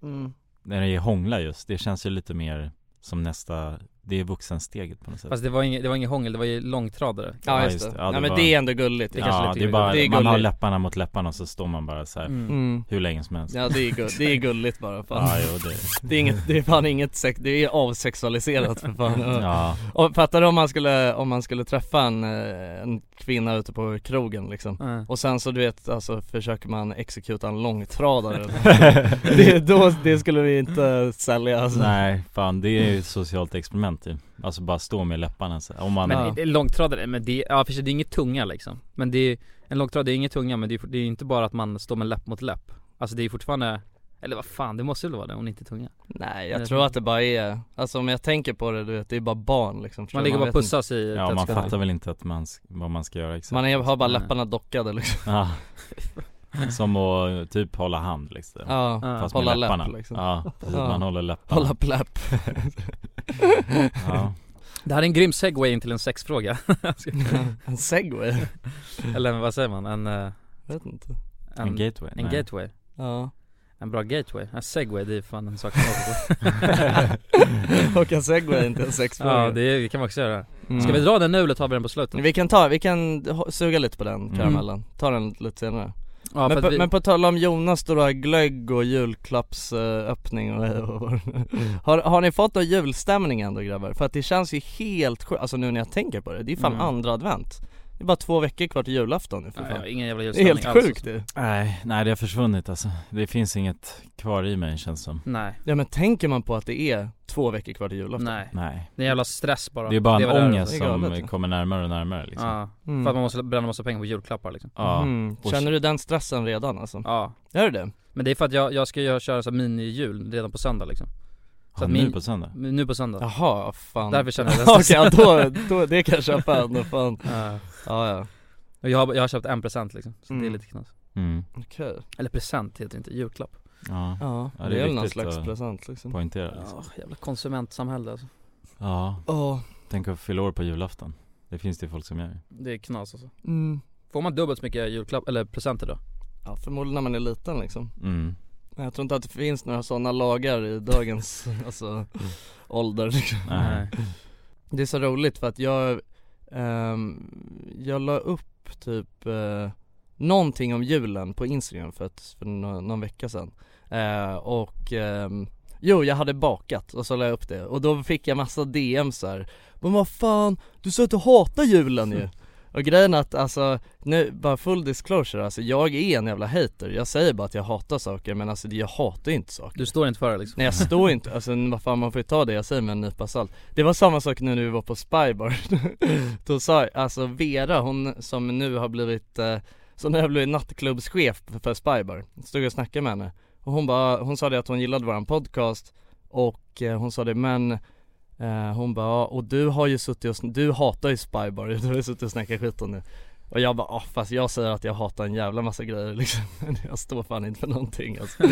Speaker 4: Mm.
Speaker 2: När det är hångla just, det känns ju lite mer som nästa, det är vuxensteget på något sätt
Speaker 6: Fast det var inget, det var inget hångel, det var ju långtradare
Speaker 5: Ja,
Speaker 2: Ja,
Speaker 5: just
Speaker 2: just
Speaker 5: det.
Speaker 2: det. Ja, det
Speaker 5: Nej, men
Speaker 2: var-
Speaker 5: det är ändå gulligt.
Speaker 6: Det kanske
Speaker 2: Ja,
Speaker 6: lite
Speaker 2: det är bara,
Speaker 5: det är
Speaker 2: man har
Speaker 5: gulligt.
Speaker 2: läpparna mot läpparna och så står man bara så här
Speaker 4: Mm.
Speaker 2: hur länge som helst
Speaker 5: Ja, det är, gull- det är gulligt bara. Fan.
Speaker 2: Ja, jo, det,
Speaker 5: Det är inget, det är fan inget sex, det är avsexualiserat för fan.
Speaker 2: <laughs> ja,
Speaker 5: Och fattar du om man skulle, om man skulle träffa en, eh, en kvinna ute på krogen liksom?
Speaker 6: Ja.
Speaker 5: Och sen så du vet, alltså försöker man exekuta en
Speaker 6: <laughs>
Speaker 5: långtradare det, då, det skulle vi inte sälja alltså.
Speaker 2: nej fan det är ju ett socialt experiment ju Alltså bara stå med läpparna så här. om man,
Speaker 6: Men
Speaker 5: Ja.
Speaker 6: det är långtradare, men det, ja för sig, det är inget tunga liksom Men det är, en långtradare är inget tunga men det är, fort- det är ju inte bara att man står med läpp mot läpp Alltså det är fortfarande, eller vad fan det måste väl vara det om det inte är tunga
Speaker 5: Nej jag tror att det bara är, alltså om jag tänker på det du vet, det är bara barn liksom tror jag.
Speaker 6: Man ligger bara och
Speaker 5: vet
Speaker 6: pussas i
Speaker 2: ja
Speaker 6: 30
Speaker 2: man
Speaker 6: sekunder.
Speaker 2: fattar väl inte att man, s- vad man ska göra
Speaker 5: inte.
Speaker 2: exakt
Speaker 5: typ Man är, har bara
Speaker 6: Nej.
Speaker 5: läpparna dockade liksom
Speaker 2: Ja.
Speaker 5: <laughs>
Speaker 2: Som att typ hålla hand liksom
Speaker 5: Ja,
Speaker 6: Ja.
Speaker 2: Fast
Speaker 5: hålla
Speaker 2: med läpparna
Speaker 5: läpp liksom
Speaker 2: Ja, precis,
Speaker 5: Ja.
Speaker 2: man håller läpparna
Speaker 5: Hålla pläpp
Speaker 2: ja.
Speaker 6: Det här är en grym segway in till en sexfråga <laughs>
Speaker 5: En segway?
Speaker 6: Eller vad säger man? En, eh,
Speaker 5: Jag vet inte
Speaker 6: en,
Speaker 2: En gateway?
Speaker 6: en
Speaker 2: Nej.
Speaker 6: gateway <laughs>
Speaker 5: Ja
Speaker 6: En bra gateway, en segway det är fan en sak man åker på.
Speaker 5: Och en segway är inte en sexfråga
Speaker 6: <laughs> Ja det, är, det kan man också göra
Speaker 5: Mm.
Speaker 6: Ska vi dra den nu eller tar vi den på slutet?
Speaker 5: Vi kan ta, vi kan ho- suga lite på den
Speaker 2: Mm.
Speaker 5: karamellen, ta den lite senare
Speaker 6: Ja, för
Speaker 5: men,
Speaker 6: att
Speaker 5: på,
Speaker 6: vi,
Speaker 5: men på tal om Jonas stora glögg och julklappsöppning och, hej och hå.
Speaker 6: Mm.
Speaker 5: har, har ni fått någon julstämning ändå grabbar? För att det känns ju helt sjukt, alltså nu när jag tänker på det, det är fan
Speaker 6: Mm.
Speaker 5: andra advent Det är bara två veckor kvar till julafton nu för
Speaker 6: Nej,
Speaker 5: fan
Speaker 6: jag har ingen jävla
Speaker 5: Det är
Speaker 6: julstämning alltså.
Speaker 5: helt
Speaker 6: alls.
Speaker 5: sjukt det
Speaker 2: Nej, nej det har försvunnit alltså. Det finns inget kvar i mig känns som.
Speaker 6: Nej,
Speaker 5: Ja men tänker man på att det är två veckor kvar till julafton?
Speaker 6: nej,
Speaker 2: Nej.
Speaker 6: det är en jävla stress bara
Speaker 2: Det är bara
Speaker 6: Leva där
Speaker 2: en
Speaker 6: och-
Speaker 2: ångest
Speaker 5: Det är galet,
Speaker 2: som
Speaker 5: ja.
Speaker 2: kommer närmare och närmare liksom. Ja.
Speaker 6: Ja,
Speaker 5: Mm.
Speaker 6: för att man måste bränna massa pengar på julklappar liksom
Speaker 5: Mhm. Känner du den stressen redan alltså?
Speaker 6: Ja,
Speaker 5: Gör du det?
Speaker 6: men det är för att jag, jag ska göra, köra så här mini-jul redan på söndag liksom
Speaker 2: Ja,
Speaker 6: så att
Speaker 2: nu
Speaker 6: min-
Speaker 2: på söndag?
Speaker 6: Nu på söndag
Speaker 5: Jaha, fan
Speaker 6: Därför
Speaker 5: <laughs>
Speaker 6: känner jag den
Speaker 5: Okej, ja,
Speaker 6: stressen
Speaker 5: då, då, det kan jag köpa ändå fan
Speaker 6: Ja.
Speaker 5: Ja ja,
Speaker 6: Och jag har, jag har köpt en present liksom, så det är
Speaker 5: Mm.
Speaker 6: lite knas
Speaker 2: Mm.
Speaker 5: okej
Speaker 6: Eller present heter det inte, julklapp
Speaker 2: Ja.
Speaker 5: Ja,
Speaker 2: Ja,
Speaker 5: det,
Speaker 2: det
Speaker 5: är
Speaker 2: är
Speaker 5: väl någon
Speaker 2: viktigt
Speaker 5: slags
Speaker 2: att-
Speaker 5: present liksom
Speaker 2: Poängtera liksom.
Speaker 6: Ja, jävla konsumentsamhälle alltså.
Speaker 2: Ja.
Speaker 5: Ja,
Speaker 2: Tänk att fylla år på julafton. Det finns det ju folk som gör.
Speaker 6: Det är knas alltså
Speaker 5: mm.
Speaker 6: Får man dubbelt så mycket julklapp, eller presenter då?
Speaker 5: Ja förmodligen när man är liten liksom
Speaker 2: Mm.
Speaker 5: Men jag tror inte att det finns några sådana lagar i dagens, <laughs> alltså, ålder liksom.
Speaker 2: Nej. <laughs>
Speaker 5: Det är så roligt för att jag, ehm, jag la upp typ eh, någonting om julen på Instagram för, ett, för nå- någon vecka sedan eh, Och ehm, Jo, jag hade bakat och så la jag upp det och då fick jag massa DMs här Men vad fan, du sa att du hatar julen ju Och grejen är att alltså, nu, bara full disclosure alltså, jag är en jävla hater Jag säger bara att jag hatar saker men alltså jag hatar ju inte saker
Speaker 6: Du står inte för
Speaker 5: <laughs>
Speaker 6: det liksom?
Speaker 5: Nej jag står inte, alltså vad fan man får ju ta det jag säger med en nypa salt Det var samma sak nu när vi var på Spybar <laughs> Då sa jag, alltså Vera hon som nu har blivit, eh, som nu har blivit nattklubbschef för- för Spybar Stod jag och snackade med henne Och hon bara, hon sa det att hon gillade våran podcast Och eh, hon sa det men eh, Hon bara, "Ja, och du har ju suttit och, sn- du hatar ju Spybar, <laughs> du har ju suttit och snackat skit om det och jag bara, ah, fast jag säger att jag hatar en jävla massa grejer liksom <laughs> Men jag står fan inte för någonting alltså.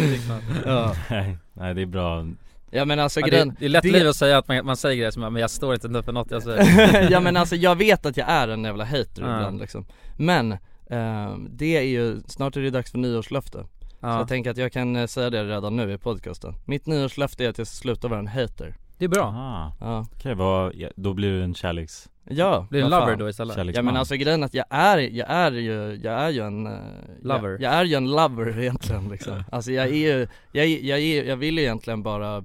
Speaker 5: ja.
Speaker 2: Nej. Nej, det är bra.
Speaker 5: ja men alltså
Speaker 6: Ja,
Speaker 5: grejen
Speaker 6: det, det är lätt
Speaker 5: det-
Speaker 6: liv att säga att man, man säger grejer som men jag står inte nu för något
Speaker 5: <laughs>
Speaker 6: jag säger
Speaker 5: ja men alltså jag vet att jag är en jävla hater
Speaker 6: Ja.
Speaker 5: ibland liksom Men ehm, det är ju, snart är det dags för nyårslöfte Så
Speaker 6: ja.
Speaker 5: jag tänker att jag kan eh, säga det redan nu i podcasten Mitt nyårslöfte är att jag ska sluta vara en hater
Speaker 6: Det är bra,
Speaker 2: Aha.
Speaker 5: Ja,
Speaker 2: Okej, vad, ja, då blir du en kärleks,
Speaker 5: ja
Speaker 6: blir en
Speaker 5: vad
Speaker 6: lover
Speaker 5: fan.
Speaker 6: då liksom, istället?
Speaker 5: Ja
Speaker 2: kärleksman.
Speaker 5: men alltså grejen är att jag är, jag är ju, jag är ju en eh,
Speaker 6: Lover.
Speaker 5: jag, jag är ju en lover <laughs> egentligen liksom Alltså jag är ju, jag, är- jag, är, jag vill ju egentligen bara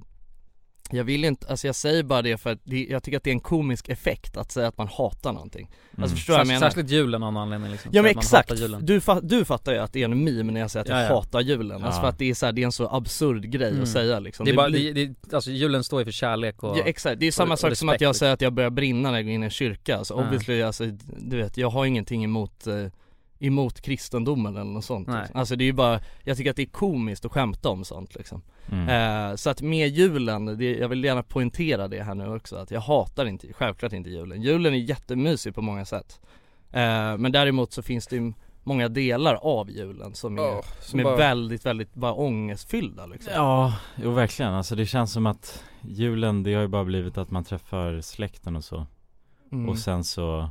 Speaker 5: jag vill ju inte, alltså jag säger bara det för att det, jag tycker att det är en komisk effekt att säga att man hatar någonting
Speaker 2: Mm.
Speaker 5: Alltså förstår du vad jag
Speaker 6: Särsk-
Speaker 5: menar?
Speaker 6: Särskilt julen av någon anledning liksom
Speaker 5: Ja
Speaker 6: Så
Speaker 5: men
Speaker 6: att man
Speaker 5: exakt,
Speaker 6: hatar julen.
Speaker 5: du, fa- du fattar ju att det är en meme när jag säger att jag
Speaker 6: Ja, ja.
Speaker 5: hatar julen, alltså
Speaker 2: Ja.
Speaker 5: för att det är, så här, det är en så absurd grej
Speaker 6: Mm.
Speaker 5: att säga liksom
Speaker 6: Det är bara,
Speaker 5: blir-
Speaker 6: det, det, alltså julen står ju för kärlek och
Speaker 5: Ja, exakt, det är samma
Speaker 6: och
Speaker 5: sak som att
Speaker 6: respekt,
Speaker 5: jag
Speaker 6: liksom.
Speaker 5: säger att jag börjar brinna när jag går in i en kyrka, alltså
Speaker 6: Ja.
Speaker 5: obviously alltså, du vet, jag har ingenting emot eh, Emot kristendomen eller något sånt
Speaker 6: Nej.
Speaker 5: liksom. Alltså det är ju bara, jag tycker att det är komiskt att skämta om sånt liksom
Speaker 2: Mm.
Speaker 5: eh, Så att med julen, det, jag vill gärna poängtera det här nu också att jag hatar inte, självklart inte julen Julen är jättemysig på många sätt eh, Men däremot så finns det ju många delar av julen som är, som är väldigt, väldigt bara ångestfyllda liksom
Speaker 2: Ja, jo verkligen. Alltså det känns som att julen, det har ju bara blivit att man träffar släkten och så.
Speaker 5: Mm.
Speaker 2: Och sen så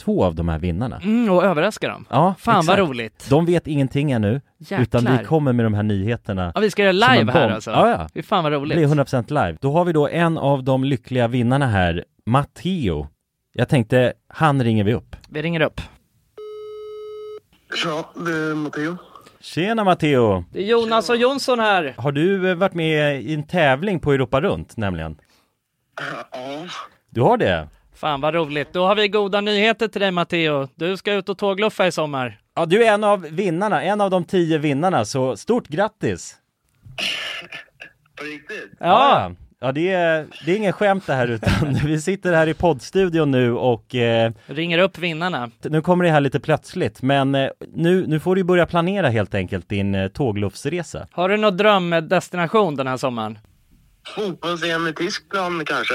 Speaker 2: två av de här vinnarna.
Speaker 5: Mm, och överraska dem.
Speaker 2: Ja,
Speaker 5: Fan vad
Speaker 2: exakt.
Speaker 5: roligt.
Speaker 2: De vet ingenting ännu,
Speaker 5: Jäklar.
Speaker 2: utan vi kommer med de här nyheterna.
Speaker 5: Ja, vi ska göra
Speaker 2: som en
Speaker 5: live här
Speaker 2: bomb.
Speaker 5: alltså.
Speaker 2: Ja, ja.
Speaker 5: Fy fan vad
Speaker 2: Det blir
Speaker 5: roligt.
Speaker 2: 100% live. Då har vi då en av de lyckliga vinnarna här, Matteo. Jag tänkte, han ringer vi upp.
Speaker 5: Vi ringer upp.
Speaker 7: Ja, det är Matteo.
Speaker 2: Tjena Matteo!
Speaker 5: Det är Jonas och Jonsson här.
Speaker 2: Har du eh, varit med i en tävling på Europa runt nämligen?
Speaker 7: Ja.
Speaker 2: Du har det?
Speaker 5: Fan vad roligt. Då har vi goda nyheter till dig Matteo. Du ska ut och tågluffa i sommar.
Speaker 2: Ja, du är en av vinnarna, en av de tio vinnarna, så stort grattis!
Speaker 7: På riktigt?
Speaker 2: Ja, ja det, är, det är ingen skämt det här utan <laughs> vi sitter här i poddstudion nu och eh,
Speaker 5: Ringer upp vinnarna.
Speaker 2: nu kommer det här lite plötsligt men eh, nu, nu får du börja planera helt enkelt din eh, tågluffsresa.
Speaker 5: Har du någon drömdestination den här sommaren?
Speaker 7: Fotbolls-EM i Tyskland kanske?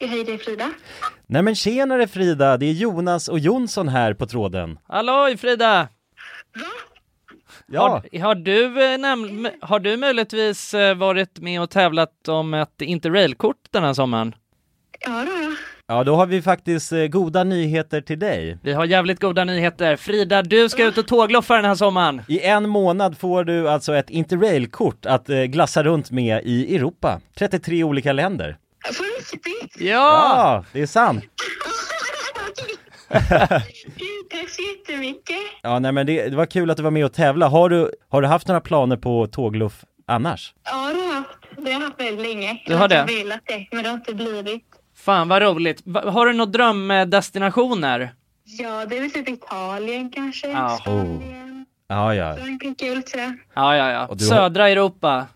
Speaker 6: Hej, det är Frida.
Speaker 2: Nej men tjenare Frida, det är Jonas och Jonsson här på tråden.
Speaker 5: Halloj Frida!
Speaker 2: Ja,
Speaker 5: Har, har, du, eh, näm- m- har du möjligtvis eh, varit med och tävlat om ett interrailkort den här sommaren?
Speaker 6: Ja, då, ja.
Speaker 2: ja då har vi faktiskt eh, goda nyheter till dig.
Speaker 5: Vi har jävligt goda nyheter. Frida, du ska ut och tågloffa den här sommaren.
Speaker 2: I en månad får du alltså ett interrailkort att eh, glassa runt med i Europa. 33 olika länder.
Speaker 6: På riktigt?
Speaker 5: Ja!
Speaker 2: Ja, det är sant.
Speaker 6: Gud, Tack så jättemycket.
Speaker 2: Ja, nej men det, det var kul att du var med och tävla. Har du, har du haft några planer på tågluff annars?
Speaker 6: Ja, det har jag haft. Det har jag haft väldigt länge.
Speaker 5: Du har det?
Speaker 6: Jag har velat det, men det har inte blivit.
Speaker 5: Fan vad roligt. Va- Har du några drömdestinationer?
Speaker 6: Ja, det är väl typ Italien kanske.
Speaker 5: Ja.
Speaker 6: Spanien.
Speaker 2: Ja, ja.
Speaker 6: Frankrike är väl tror jag.
Speaker 5: Ja, ja, ja.
Speaker 2: Och du har-
Speaker 5: Södra Europa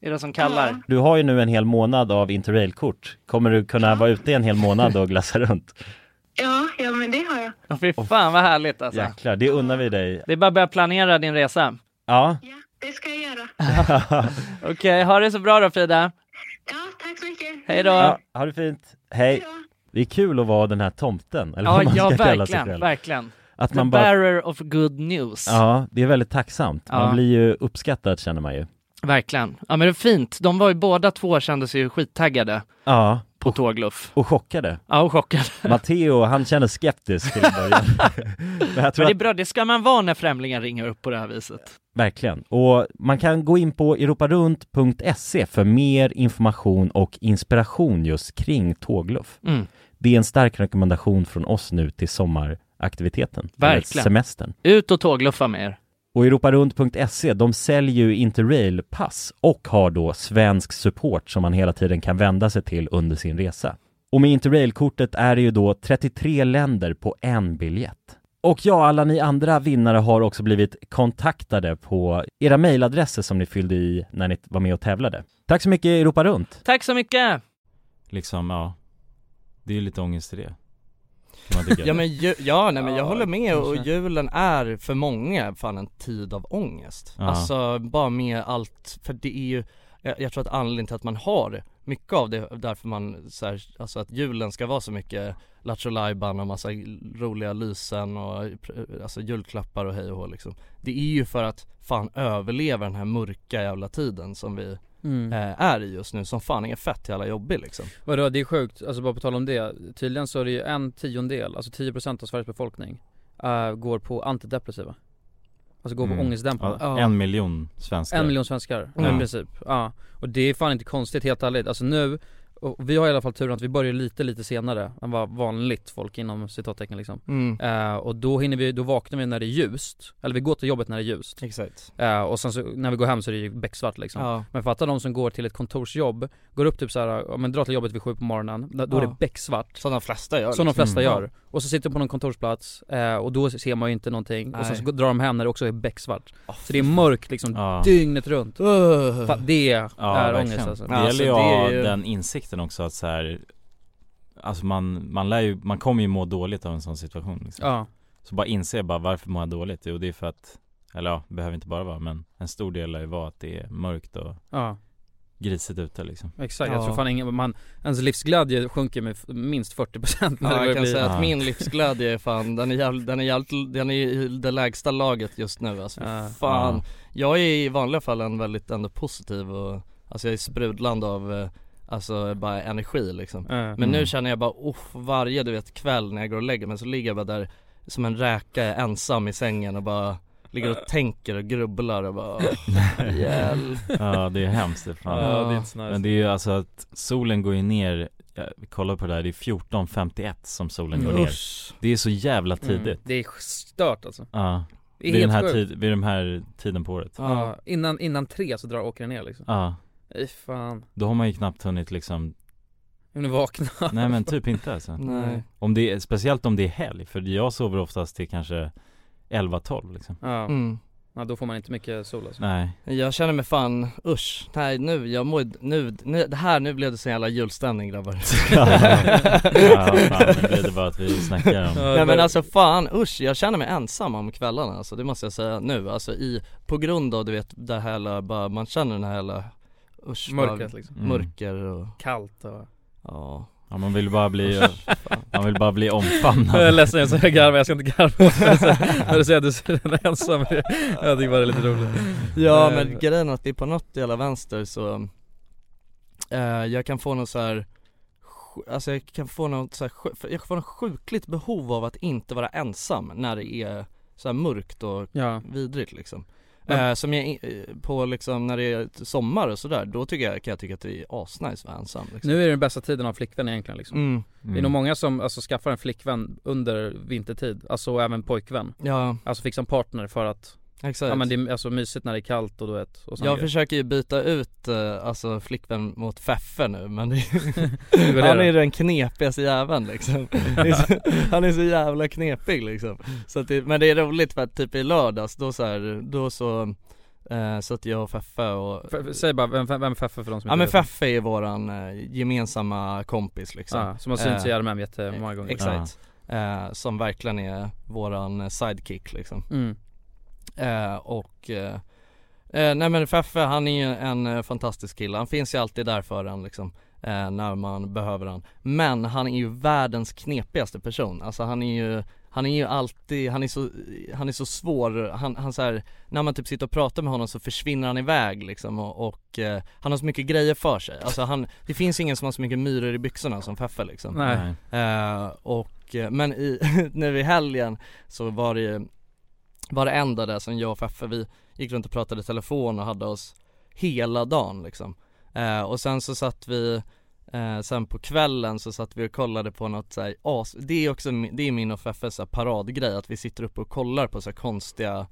Speaker 5: är det som kallar.
Speaker 2: Du har ju nu en hel månad av interrailkort. Kommer du kunna vara ute en hel månad och glassa
Speaker 5: <laughs>
Speaker 2: runt?
Speaker 6: Ja, ja, men det har jag.
Speaker 5: Ja. Fy fan vad härligt alltså.
Speaker 2: Jäklar, det unnar vi dig.
Speaker 5: Det är bara att börja planera din resa.
Speaker 2: Ja,
Speaker 6: Ja, det ska jag göra.
Speaker 5: Okej, ha det så bra då Frida.
Speaker 6: Ja, tack så mycket.
Speaker 5: Hej då.
Speaker 2: ja ha det fint. Hej.
Speaker 6: Hej då.
Speaker 2: Det är kul att vara den här tomten, eller
Speaker 5: Ja,
Speaker 2: vad man
Speaker 5: ja
Speaker 2: ska kalla sig
Speaker 5: verkligen,
Speaker 2: själv.
Speaker 5: verkligen.
Speaker 2: Att
Speaker 5: The
Speaker 2: man bara,
Speaker 5: bearer of good news.
Speaker 2: ja, det är väldigt tacksamt.
Speaker 5: Ja.
Speaker 2: Man blir ju uppskattad känner man ju.
Speaker 5: Verkligen. Ja men det är fint. De var ju båda två kände sig ju skittaggade
Speaker 8: Ja.
Speaker 2: Oh.
Speaker 5: på tågluff.
Speaker 8: Och
Speaker 5: <laughs>
Speaker 8: chockade.
Speaker 5: Ja,
Speaker 2: <laughs>
Speaker 5: och chockade.
Speaker 8: Matteo, han känner skeptisk till en
Speaker 5: <laughs>
Speaker 8: början. Men jag tror
Speaker 5: Men det är
Speaker 8: att,
Speaker 5: bra, det ska man vara när främlingar ringer upp på det här viset.
Speaker 8: verkligen. Och man kan gå in på europarunt.se E för mer information och inspiration just kring tågluff.
Speaker 5: Mm.
Speaker 8: Det är en stark rekommendation från oss nu till sommaraktiviteten. eller
Speaker 5: Verkligen.
Speaker 8: Semestern.
Speaker 5: Ut och tågluffa med er.
Speaker 8: Och europarunt.se, E, de säljer ju Interrail-pass och har då svensk support som man hela tiden kan vända sig till under sin resa. Och med Interrail-kortet är det ju då 33 länder på en biljett. Och ja, alla ni andra vinnare har också blivit kontaktade på era mejladresser som ni fyllde i när ni var med och tävlade. Tack så mycket Europa Runt!
Speaker 5: Tack så mycket!
Speaker 2: Liksom, ja Det är ju lite ångest i det Kan man tycka
Speaker 5: Ja men ju, ja, nej, men jag
Speaker 2: Ja,
Speaker 5: håller med och
Speaker 2: kanske.
Speaker 5: julen är för många fan en tid av ångest
Speaker 2: Ja.
Speaker 5: Alltså bara med allt, för det är ju jag, jag tror att anledningen till att man har mycket av det, därför man så här, alltså att julen ska vara så mycket lattjo lajban och massa roliga lysen och pr- alltså julklappar och hej och hå liksom Det är ju för att fan överleva den här mörka jävla tiden som vi
Speaker 6: Mm.
Speaker 5: eh, är i just nu, som fan är fett jävla jobbig liksom
Speaker 6: Vadå det är sjukt, alltså bara på tal om det Tydligen så är det ju en tiondel, alltså 10% av Sveriges befolkning eh, Går på antidepressiva Alltså går
Speaker 2: Mm.
Speaker 6: på ångestdämpare
Speaker 2: Ja, En miljon svenskar
Speaker 6: En miljon svenskar,
Speaker 2: Mm.
Speaker 6: i princip. Ja. Och det är fan inte konstigt helt ärligt. Alltså nu, och vi har i alla fall turen att vi börjar lite lite senare än vad vanligt folk inom citattecken liksom.
Speaker 5: Mm.
Speaker 6: Eh, och då hinner vi, då vaknar vi när det är ljust. Eller vi går till jobbet när det är ljust.
Speaker 5: Exakt.
Speaker 6: Eh, och sen så, när vi går hem så är det ju becksvart liksom.
Speaker 5: Ja.
Speaker 6: Men fatta de som går till ett kontorsjobb, går upp typ såhär, ja, men drar till jobbet vid sju på morgonen, då är
Speaker 5: Ja.
Speaker 6: det becksvart.
Speaker 5: Som de flesta gör
Speaker 6: Som de
Speaker 5: liksom.
Speaker 6: flesta
Speaker 5: Mm.
Speaker 6: gör. Och så sitter de på någon kontorsplats, eh, och då ser man ju inte någonting. Och sen
Speaker 5: Nej.
Speaker 6: så går- drar de hem när det också är becksvart. så det är
Speaker 5: fy fan.
Speaker 6: mörkt liksom
Speaker 2: Ja.
Speaker 6: dygnet runt.
Speaker 5: Ugh.
Speaker 6: Fan, det är
Speaker 2: verkligen.
Speaker 6: ångest alltså.
Speaker 2: Det gäller ju att ha den insikten också att så här, Alltså man, man lär ju, man kommer ju må dåligt av en sån situation liksom.
Speaker 6: Ja.
Speaker 2: Så bara inse bara varför mår jag dåligt? Jo det är för att Eller ja, det behöver inte bara vara men en stor del lär ju vara att det är mörkt och
Speaker 6: Ja.
Speaker 2: grisigt ute
Speaker 6: <laughs>
Speaker 2: liksom
Speaker 6: Exakt,
Speaker 2: Ja.
Speaker 6: jag tror fan ingen, man, ens livsglädje sjunker med f- minst 40% när
Speaker 5: Ja,
Speaker 6: det
Speaker 5: jag kan
Speaker 6: blir-
Speaker 5: säga att min livsglädje är fan, den är jävligt, den är jävligt, den är i det lägsta laget just nu alltså,
Speaker 6: Ja.
Speaker 5: fan
Speaker 6: Ja.
Speaker 5: Jag är i vanliga fall en väldigt ändå positiv och, alltså jag är sprudlande av eh, Alltså bara energi liksom
Speaker 6: Ja.
Speaker 5: Men
Speaker 6: Mm.
Speaker 5: nu känner jag bara, oh, varje du vet kväll när jag går och lägger mig så ligger jag bara där som en räka ensam i sängen och bara Ligger
Speaker 6: <laughs>
Speaker 5: och tänker och grubblar och bara, oh, hjälp
Speaker 2: Ja det är hemskt det är fan.
Speaker 6: Ja, det är inte så nice.
Speaker 2: Men det är ju alltså att solen går ju ner ja, vi kollar på det här, det är 14.51 som solen går ner
Speaker 6: Usch.
Speaker 2: Det är så jävla tidigt
Speaker 6: Mm. Det är stört alltså.
Speaker 2: Ja,
Speaker 6: Det är
Speaker 2: vid den,
Speaker 6: helt
Speaker 2: här
Speaker 6: sjukt.
Speaker 2: tid, vid den här tiden på året
Speaker 6: Ja. Innan, innan tre så drar åker den ner liksom.
Speaker 2: Ja.
Speaker 6: Ej, fan.
Speaker 2: Då har man ju knappt hunnit liksom
Speaker 6: Jag vill vakna.
Speaker 2: Nej men typ inte alltså
Speaker 6: Nej.
Speaker 2: om det är, Speciellt om det är helg, för jag sover oftast till kanske 11-12 liksom
Speaker 6: Ja.
Speaker 5: Mm.
Speaker 6: ja, då får man inte mycket sol alltså.
Speaker 4: <laughs>
Speaker 2: Nej
Speaker 5: Jag känner mig fan, usch, nej nu, jag mår, nu, nu det här, nu blev det så jävla julstämning grabbar
Speaker 2: Ja, fan, nu blev det bara att vi snackar om-
Speaker 5: Nej men alltså fan, usch, jag känner mig ensam om kvällarna alltså, det måste jag säga nu, alltså i, på grund av du vet, det här jävla, bara, man känner den här jävla, usch vad-
Speaker 6: Mörkret, liksom.
Speaker 2: Mm.
Speaker 5: Mörker och
Speaker 6: Kallt och...
Speaker 5: Ja
Speaker 2: Ja man vill bara bli, man vill bara bli omfamnad
Speaker 6: Jag är ledsen, jag ska garva, jag ska inte <laughs> garva När du säger att du ser ensam, jag tycker bara det är lite roligt
Speaker 5: Ja men grejen är att det är på något jävla vänster så eh, Jag kan få någon så här sj- Alltså jag kan få något så här, sj- för jag får något sjukligt behov av att inte vara ensam när det är så här mörkt och
Speaker 6: Ja.
Speaker 5: vidrigt liksom
Speaker 6: Men-
Speaker 5: eh, Som jag, i- eh, på liksom när det är sommar och sådär, då tycker jag, kan jag tycka att det är asnice att vara ensam liksom.
Speaker 6: Nu är det den bästa tiden att ha flickvän egentligen liksom.
Speaker 5: Mm.
Speaker 6: Det är
Speaker 5: Mm.
Speaker 6: nog många som alltså, skaffar en flickvän under vintertid, alltså och även pojkvän
Speaker 5: Ja.
Speaker 6: Alltså fixar en partner för att
Speaker 5: Exakt.
Speaker 6: Ja men det är alltså mysigt när det är kallt och du vet och såna
Speaker 5: Jag
Speaker 6: grejer.
Speaker 5: försöker ju byta ut eh, alltså flickvän mot Feffe nu men det
Speaker 6: det
Speaker 5: han
Speaker 6: då?
Speaker 5: är <laughs> ju den knepigaste jäveln liksom <laughs> Det är så, Han är så jävla knepig liksom så att det, Men det är roligt för att typ i lördags då så här, då så eh, satt jag och Feffe och
Speaker 6: F- Säg bara, vem, vem är Feffe för de som
Speaker 5: Ja
Speaker 6: inte
Speaker 5: men
Speaker 6: vet?
Speaker 5: Feffe är våran eh, gemensamma kompis liksom
Speaker 6: Ja, Ah, som har synts i
Speaker 5: Eh,
Speaker 6: Armén jättemånga gånger.
Speaker 5: Exakt eh, Som verkligen är
Speaker 4: eh,
Speaker 5: våran sidekick liksom
Speaker 6: Mm.
Speaker 5: eh, Och eh, eh, Nej men Feffe han är ju en eh, fantastisk kille, han finns ju alltid där för en liksom eh, när man behöver han. Men han är ju världens knepigaste person, alltså han är ju
Speaker 4: han är ju alltid, han är så, han är så svår, han, han så här, när man typ sitter och pratar med honom så försvinner han iväg liksom och, och eh, han har så mycket grejer för sig, alltså han, det finns ingen som har så mycket myror i byxorna som Feffe liksom
Speaker 6: Nej.
Speaker 4: Eh, Och, eh, men i, <laughs> nu i helgen så var det ju, var det en dag där som jag och Feffe, vi gick runt och pratade i telefon och hade oss hela dagen liksom eh, Och sen så satt vi, eh, sen på kvällen så satt vi och kollade på något så här, as, det är också, min- det är min och Feffes så här paradgrej att vi sitter uppe och kollar på så här konstiga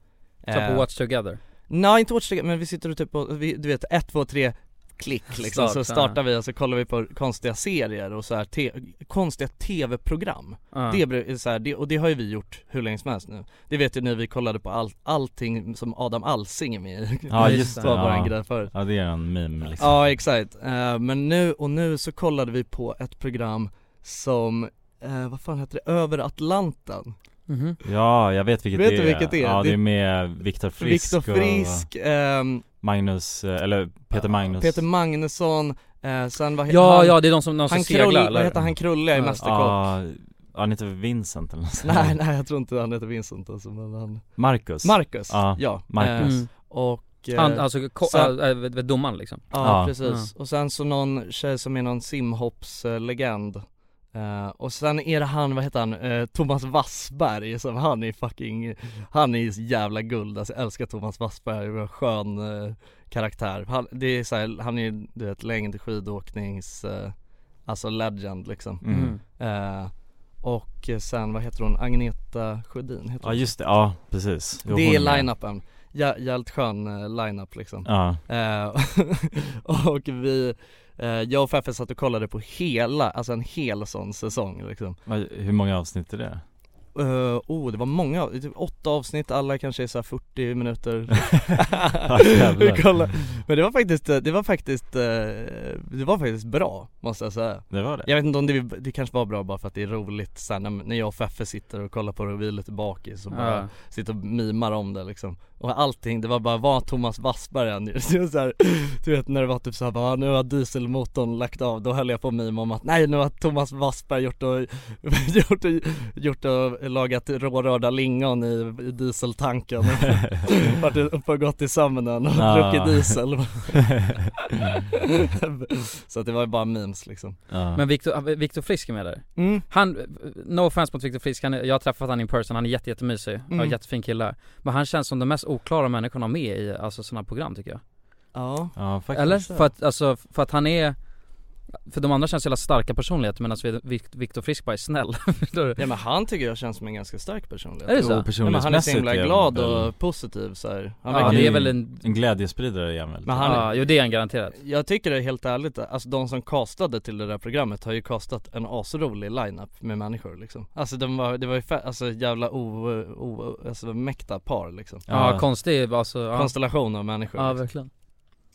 Speaker 4: eh,
Speaker 6: Så på Watch Together?
Speaker 4: Nej inte Watch Together, men vi sitter och typ och, vi, du vet, ett, två, tre klick liksom,
Speaker 6: Starta.
Speaker 4: så startar vi och så kollar vi på konstiga serier och så här te- konstiga tv-program
Speaker 6: Ja.
Speaker 4: det, blir- är så här, det, och det har ju vi gjort hur länge som helst nu Det vet ju när vi kollade på all, allting som Adam Alsing är med i <laughs>
Speaker 2: Ja just det,
Speaker 4: Det var bara en
Speaker 2: ja.
Speaker 4: grej förut
Speaker 2: Ja det är en meme liksom
Speaker 4: Ja exakt, Eh, men nu, och nu så kollade vi på ett program som, eh, vad fan heter det, Över Atlanten
Speaker 6: Mhm.
Speaker 2: Ja, jag vet vilket
Speaker 4: Vet
Speaker 2: det är
Speaker 4: du vilket det är?
Speaker 2: Ja, det
Speaker 4: Det-
Speaker 2: är med Viktor Frisk
Speaker 4: Viktor Frisk, ehm,
Speaker 2: och Magnus, eh, eller Peter Magnus
Speaker 4: Peter Magnusson, eh, sen vad he-
Speaker 6: Ja, ja, det är de som- de som
Speaker 4: han
Speaker 6: seglar,
Speaker 4: Krull-
Speaker 6: eller?
Speaker 4: Vad heter han Krulliga i Mästerkock?
Speaker 2: Ja, ja, han heter Vincent eller nåt sånt.
Speaker 4: <laughs> Nej nej jag tror inte han heter Vincent alltså, men han
Speaker 2: Marcus
Speaker 4: Marcus,
Speaker 2: Ja,
Speaker 4: ja
Speaker 2: Marcus.
Speaker 4: Eh, Och eh,
Speaker 6: Han, alltså, ko-
Speaker 4: sen-
Speaker 6: äh, äh, domaren liksom?
Speaker 4: Ja, precis. Och sen så någon tjej som är någon simhoppslegend Eh, och sen är det han, vad heter han, Eh, Thomas Wassberg som han är fucking, han är ju så jävla guld alltså, jag älskar Thomas Wassberg, vad skön eh, karaktär. Han, det är så här, han är ju, du vet längdskidåknings, eh, alltså legend liksom.
Speaker 2: Mm.
Speaker 4: Eh, och sen, vad heter hon, Agneta Sjödin heter
Speaker 2: Ja
Speaker 4: hon.
Speaker 2: just det, ja precis Jo,
Speaker 4: Det är
Speaker 2: hon
Speaker 4: line-upen, Jä- jävligt skön eh, line-up liksom
Speaker 2: Ja.
Speaker 4: Eh, <laughs> Och vi, eh, jag och Feffe satt och kollade på hela, alltså en hel sån säsong liksom
Speaker 2: Vad- Hur många avsnitt är
Speaker 6: <laughs>
Speaker 2: det?
Speaker 4: Eh, oh, det var många, av- typ åtta avsnitt, alla kanske är så här 40 minuter
Speaker 2: <laughs> jävlar.
Speaker 4: Vi kollade. Men det var faktiskt, eh, det var faktiskt, eh, det var faktiskt bra måste jag säga
Speaker 2: Det var det.
Speaker 4: Jag vet inte om det, det kanske var bra bara för att det är roligt sen när, när jag och Feffe sitter och kollar på det och vi är lite bakis och bara
Speaker 6: Ja.
Speaker 4: sitter och mimar om det liksom Och allting, det var bara, var Thomas Wassberg än <laughs> ju? Så så här, Du vet när det var typ såhär bara, nu har dieselmotorn lagt av, då höll jag på att mima om att nej nu har Thomas Wassberg gjort och, <laughs> gjort och, gjort och lagat rårörda lingon i, i dieseltanken Varit uppe och gått i sömnen och
Speaker 2: Ja. <laughs>
Speaker 4: druckit diesel <laughs> Så att det var ju bara memes liksom
Speaker 6: Men Viktor, Viktor Frisk är med där?
Speaker 4: Mm.
Speaker 6: Han, eh, no offense mot Viktor Frisk, han, är- jag har träffat han in person, han är jätte, jättemysig,
Speaker 4: Mm.
Speaker 6: och jättefin kille Men han känns som den mest oklara människan att ha med i alltså sådana program tycker jag
Speaker 4: Ja,
Speaker 2: ja
Speaker 6: Eller? För att, alltså, för att han är för de andra känns jävla starka personligheter medan Viktor Frisk bara är snäll <laughs>
Speaker 4: Ja men han tycker jag känns som en ganska stark personlighet
Speaker 6: Är det så?
Speaker 4: Jo, personlighetsmässigt Nej, men han är så himla
Speaker 2: är han
Speaker 4: glad
Speaker 2: väl-
Speaker 4: och positiv så här. Han
Speaker 6: Ja,
Speaker 4: verkar
Speaker 6: det
Speaker 4: ju-
Speaker 6: är väl en...
Speaker 2: En glädjespridare är han väl?
Speaker 4: Men han-
Speaker 6: Ja, jo det är han garanterat
Speaker 4: Jag tycker det är helt ärligt, alltså de som castade till det där programmet har ju castat en asrolig lineup med människor liksom Alltså de var, det var ju fe- alltså jävla o, o, alltså mäkta par liksom
Speaker 6: Ja, konstig, alltså ja.
Speaker 4: Konstellation av människor
Speaker 6: Ja
Speaker 4: liksom.
Speaker 6: verkligen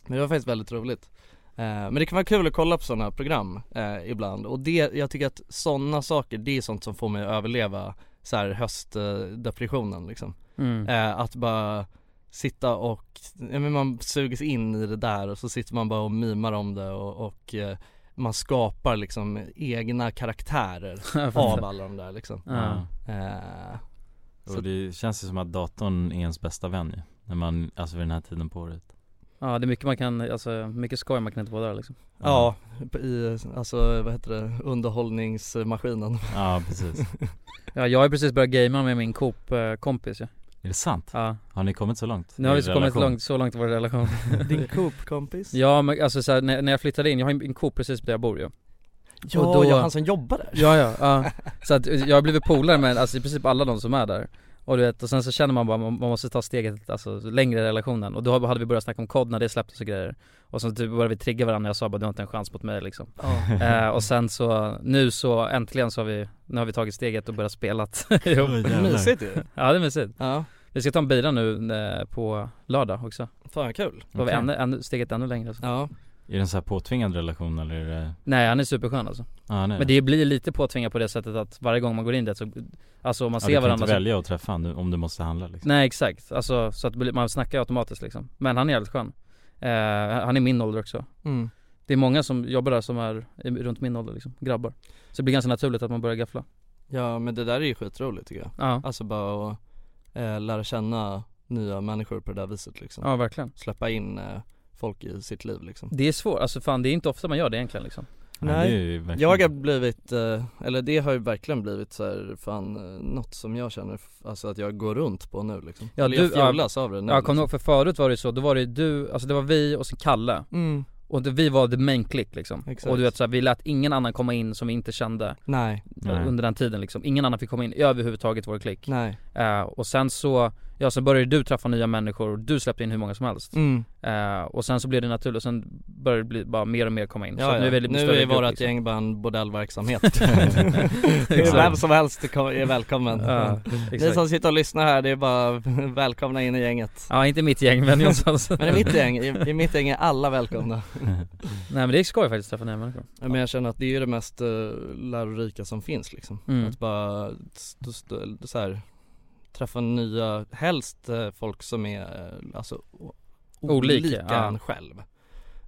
Speaker 4: Men det var faktiskt väldigt roligt Eh, Men det kan vara kul att kolla på sådana program eh, ibland och det, jag tycker att sådana saker, det är sånt som får mig att överleva så här höstdepressionen liksom
Speaker 6: Mm.
Speaker 4: Eh, Att bara sitta och, ja, men man sugs in i det där och så sitter man bara och mimar om det och, och eh, man skapar liksom egna karaktärer
Speaker 6: Jag fattar.
Speaker 4: av alla de där liksom
Speaker 2: Ja.
Speaker 4: Eh, så
Speaker 2: Och det känns ju som att datorn är ens bästa vän ju När man, alltså vid den här tiden på året
Speaker 6: Ja det är mycket man kan, alltså mycket skoj man kan inte vara där liksom
Speaker 4: Ja, i, alltså vad heter det, underhållningsmaskinen
Speaker 2: Ja precis
Speaker 6: Ja jag har ju precis börjat gamea med min Coop-kompis ju
Speaker 2: Är det sant?
Speaker 6: Ja
Speaker 2: Har ni kommit så långt?
Speaker 6: Nu har
Speaker 2: i
Speaker 6: vi så kommit
Speaker 2: relation?
Speaker 6: långt, så långt i vår <laughs> relation
Speaker 4: <laughs> Din Coop-kompis?
Speaker 6: Ja men alltså så här, när, när jag flyttade in, jag har ju en Coop precis där jag bor ju
Speaker 4: <laughs> Ja,
Speaker 6: Och då-
Speaker 4: ja, han som jobbar där.
Speaker 6: Ja ja, ja. Så att eh, jag har blivit polare med alltså, i princip alla de som är där och du vet, och sen så känner man bara man man måste ta steget alltså, längre i relationen och då hade vi börjat snacka om kod när det släpptes och grejer Och så typ började vi trigga varandra, jag sa bara du har inte en chans mot mig liksom
Speaker 4: Ja.
Speaker 6: eh, Och sen så, nu så äntligen så har vi, nu har vi tagit steget och börjat spela <laughs> ihop
Speaker 4: Oj, jävlar. Mysigt ju.
Speaker 6: Ja det är mysigt
Speaker 4: ja.
Speaker 6: Vi ska ta en bira nu eh, på lördag också
Speaker 4: Fan vad kul
Speaker 6: Då har vi
Speaker 2: Okej.
Speaker 6: ännu, ännu, steget ännu längre alltså.
Speaker 4: Ja
Speaker 2: Är det en så här påtvingad relation eller är det
Speaker 6: Nej han är superskön alltså
Speaker 2: Ja, han är
Speaker 6: Men
Speaker 2: det.
Speaker 6: det blir lite påtvingat på det sättet att varje gång man går in dit så, alltså om man
Speaker 2: Ja,
Speaker 6: ser
Speaker 2: du kan
Speaker 6: varandra
Speaker 2: inte
Speaker 6: så,
Speaker 2: välja att träffa honom om du måste handla liksom
Speaker 6: Nej exakt, alltså så att bli- man snackar automatiskt liksom Men han är jävligt skön eh, Han är min ålder också
Speaker 4: Mm.
Speaker 6: Det är många som jobbar där som är i- runt min ålder liksom, grabbar Så det blir ganska naturligt att man börjar gaffla
Speaker 4: Ja men det där är ju skitroligt tycker jag.
Speaker 6: Ja.
Speaker 4: Alltså bara att eh, lära känna nya människor på det där viset liksom.
Speaker 6: Ja, verkligen.
Speaker 4: Släppa in eh, folk i sitt liv liksom.
Speaker 6: Det är svårt, alltså fan det är inte ofta man gör det egentligen liksom
Speaker 4: Nej, jag har blivit, eh, eller det har ju verkligen blivit så här, fan eh, något som jag känner, f- alltså att jag går runt på nu liksom. eller jag fjävlas av det nu.
Speaker 6: Ja, kom ihåg för förut var det ju så, då var det ju du, alltså det var vi och sen Kalle
Speaker 4: Mm.
Speaker 6: Och det, vi var the main click liksom
Speaker 4: Exakt.
Speaker 6: Och du vet så här, vi lät ingen annan komma in som vi inte kände
Speaker 4: Nej. Nej.
Speaker 6: Under den tiden liksom, ingen annan fick komma in överhuvudtaget i vår klick
Speaker 4: Nej.
Speaker 6: Eh, Och sen så, ja sen började du träffa nya människor och du släppte in hur många som helst
Speaker 4: Mm.
Speaker 6: Eh, Och sen så blev det naturligt, och sen började det bli bara mer och mer komma in
Speaker 4: Ja,
Speaker 6: så att
Speaker 4: ja.
Speaker 6: nu är vi lite
Speaker 4: nu
Speaker 6: större
Speaker 4: är
Speaker 6: grupp,
Speaker 4: vårt
Speaker 6: liksom.
Speaker 4: gäng bara en
Speaker 6: <laughs>
Speaker 4: bordellverksamhet. <laughs> Det är
Speaker 6: Exakt.
Speaker 4: Vem som helst är välkommen. <laughs>
Speaker 6: Ja,
Speaker 4: Ni
Speaker 6: exakt.
Speaker 4: som sitter och lyssnar här, det är bara <laughs> välkomna in i gänget.
Speaker 6: Ja inte mitt
Speaker 4: <laughs>
Speaker 6: gäng men Jonssons
Speaker 4: Men i mitt gäng, i, i mitt gäng är alla välkomna.
Speaker 6: Nej men det är skoj faktiskt att träffa nya människor
Speaker 4: Ja, Men jag känner att det är ju det mest eh, lärorika som finns liksom.
Speaker 6: Mm.
Speaker 4: Att bara st- st- så här, träffa nya, helst eh, folk som är eh, alltså, o-
Speaker 6: Olika,
Speaker 4: olika,
Speaker 6: ja.
Speaker 4: en själv.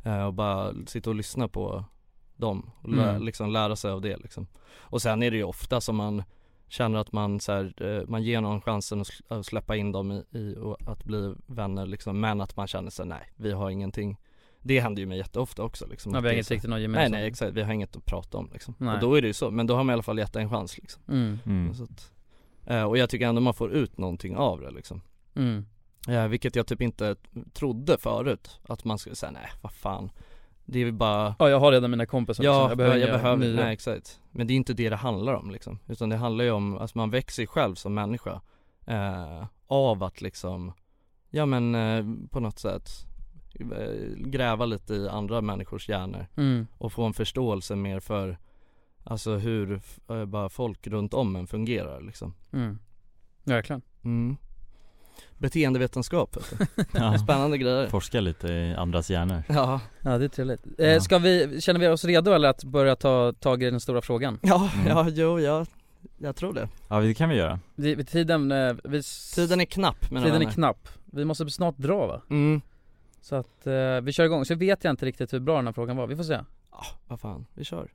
Speaker 4: Eh, och bara sitta och lyssna på dem och lä-
Speaker 6: Mm.
Speaker 4: liksom lära sig av det liksom. Och sen är det ju ofta som man känner att man så här, eh, man ger någon chansen att sl- att släppa in dem i, i och att bli vänner liksom. Men att man känner sig nej, vi har ingenting. Det händer ju mig jätteofta också liksom.
Speaker 6: Ja,
Speaker 4: Att
Speaker 6: vi
Speaker 4: det är
Speaker 6: har inget
Speaker 4: så-
Speaker 6: riktigt något
Speaker 4: Nej
Speaker 6: gemensamt.
Speaker 4: nej exakt, vi har inget att prata om liksom.
Speaker 6: Nej.
Speaker 4: Och då är det ju så, men då har man i alla fall gett en chans liksom.
Speaker 6: Mm. Mm.
Speaker 4: Så att, eh, och jag tycker ändå man får ut någonting av det liksom.
Speaker 6: Mm.
Speaker 4: Eh, vilket jag typ inte trodde förut, att man skulle säga nej vad fan. Det är ju bara
Speaker 6: Ja jag har redan mina kompisar
Speaker 4: Ja,
Speaker 6: också.
Speaker 4: jag behöver, jag
Speaker 6: göra
Speaker 4: behöver
Speaker 6: nya.
Speaker 4: nej exakt. Men det är inte det det handlar om liksom. Utan det handlar ju om, alltså man växer ju själv som människa eh, av att liksom, ja men eh, på något sätt eh, gräva lite i andra människors hjärnor
Speaker 6: Mm.
Speaker 4: och få en förståelse mer för alltså hur f- eh, bara folk runt om en fungerar liksom.
Speaker 6: Mm. Verkligen.
Speaker 4: Mm. Beteendevetenskap vet du.
Speaker 2: Ja.
Speaker 4: <laughs> Spännande grejer.
Speaker 2: Forska lite i andras hjärnor
Speaker 4: Ja.
Speaker 6: Ja det är trevligt. Eh, ska vi, känner vi oss redo eller att börja ta tag i den stora frågan?
Speaker 4: Ja, ja, jo, jag, jag tror det.
Speaker 2: Mm. Ja det kan vi göra
Speaker 6: Vi, vi- tiden, eh, vi, s-
Speaker 4: Tiden är knapp mina
Speaker 6: Tiden är
Speaker 4: vänner.
Speaker 6: knapp. Vi måste snart dra va?
Speaker 4: Mm.
Speaker 6: Så att eh, vi kör igång, så vet jag inte riktigt hur bra den här frågan var, vi får se.
Speaker 4: Ah, Vad fan, vi kör.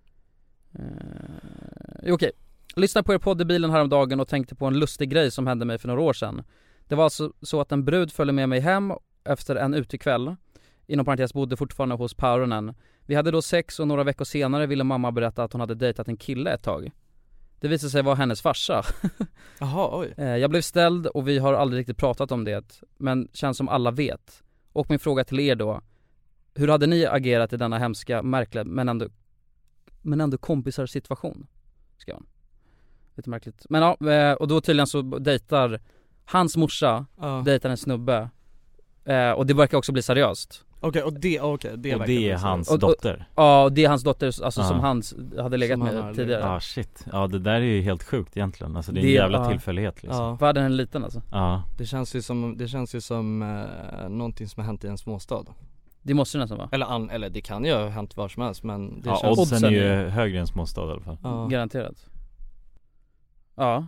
Speaker 6: Eh, Okej, lyssnade på er podd i bilen häromdagen och tänkte på en lustig grej som hände mig för några år sedan. Det var alltså så att en brud följde med mig hem efter en utekväll. Inom parentes bodde fortfarande hos Paronen. Vi hade då sex och några veckor senare ville mamma berätta att hon hade dejtat en kille ett tag. Det visade sig vara hennes farsa.
Speaker 4: Jaha, oj.
Speaker 6: Eh, Jag blev ställd och vi har aldrig riktigt pratat om det, men känns som alla vet. Och min fråga till er då, hur hade ni agerat i denna hemska, märkliga, men ändå, men ändå kompisar situation? Skrev han. Lite märkligt. Men ja, eh, och då tydligen så dejtar hans morsa,
Speaker 4: Ja.
Speaker 6: dejtar en snubbe. Eh, och det verkar också bli seriöst.
Speaker 4: Okej, och det, okej, det
Speaker 2: Och
Speaker 4: verkar
Speaker 2: det är
Speaker 4: bli så.
Speaker 2: hans
Speaker 6: Och- och-
Speaker 2: dotter
Speaker 6: Ja, och det är hans dotter, alltså som
Speaker 2: Ja.
Speaker 6: han hade legat
Speaker 4: Som han har
Speaker 6: med
Speaker 4: legat-
Speaker 6: tidigare.
Speaker 2: Ja shit, ja det där är ju helt sjukt egentligen Alltså det är en
Speaker 6: Det-
Speaker 2: jävla
Speaker 6: ja.
Speaker 2: tillfällighet liksom
Speaker 4: Ja.
Speaker 6: Världen är liten alltså.
Speaker 2: Ja,
Speaker 4: Det känns ju som, det känns ju som eh, någonting som har hänt i en småstad
Speaker 6: Det måste det nästan vara.
Speaker 4: Eller, an, eller det kan ju ha hänt var som helst men det
Speaker 2: ja
Speaker 4: känns
Speaker 2: oddsen är ju högre än småstad i alla fall
Speaker 4: Ja.
Speaker 6: Garanterat Ja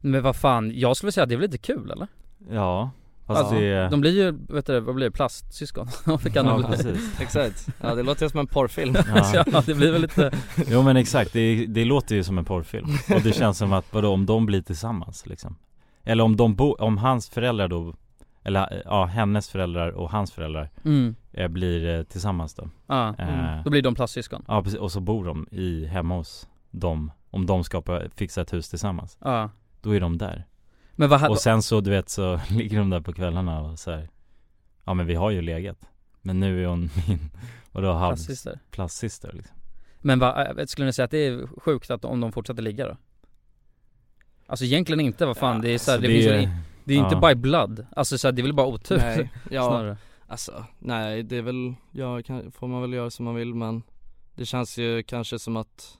Speaker 6: Men vad fan, jag skulle säga att det är väl lite kul eller? Alltså,
Speaker 2: Ja, fast det
Speaker 6: De blir ju, vet du vad blir det, plastsyskon? <laughs> Det kan
Speaker 2: Ja,
Speaker 6: de bli.
Speaker 4: <laughs>
Speaker 2: precis.
Speaker 4: Exakt, ja det låter ju som en porrfilm
Speaker 6: <laughs>
Speaker 4: <laughs>
Speaker 6: Ja. det blir väl lite
Speaker 2: Jo men exakt, det, det låter ju som en porrfilm Och det känns som att, vadå om de blir tillsammans liksom? Eller om de bo, om hans föräldrar då Eller eh, ja, hennes föräldrar och hans föräldrar
Speaker 6: Mm.
Speaker 2: eh, Blir eh, tillsammans då
Speaker 6: Ja,
Speaker 2: Eh,
Speaker 6: då blir de plastsyskon
Speaker 2: Ja precis, och så bor de i, hemma hos dem Om de skapar, fixar ett hus tillsammans
Speaker 6: Ja.
Speaker 2: Då är de där
Speaker 6: Men vad ha-
Speaker 2: Och sen så du vet så <laughs> ligger de där på kvällarna och så här. Ja men vi har ju legat Men nu är hon min, <laughs> vadå halv
Speaker 6: Plastsyster.
Speaker 2: Plastsyster liksom
Speaker 6: Men vad, eh, skulle ni säga att det är sjukt att om de fortsätter ligga då? Alltså egentligen inte, vad fan det är så här,
Speaker 2: så
Speaker 6: det,
Speaker 2: alltså, det
Speaker 6: finns
Speaker 2: är-
Speaker 6: väl i- Det är ju
Speaker 2: ja.
Speaker 6: inte by blood, alltså så här, det är väl bara otur <laughs>
Speaker 4: Nej, ja,
Speaker 6: snarare
Speaker 4: alltså nej det är väl, ja kan, får man väl göra som man vill men det känns ju kanske som att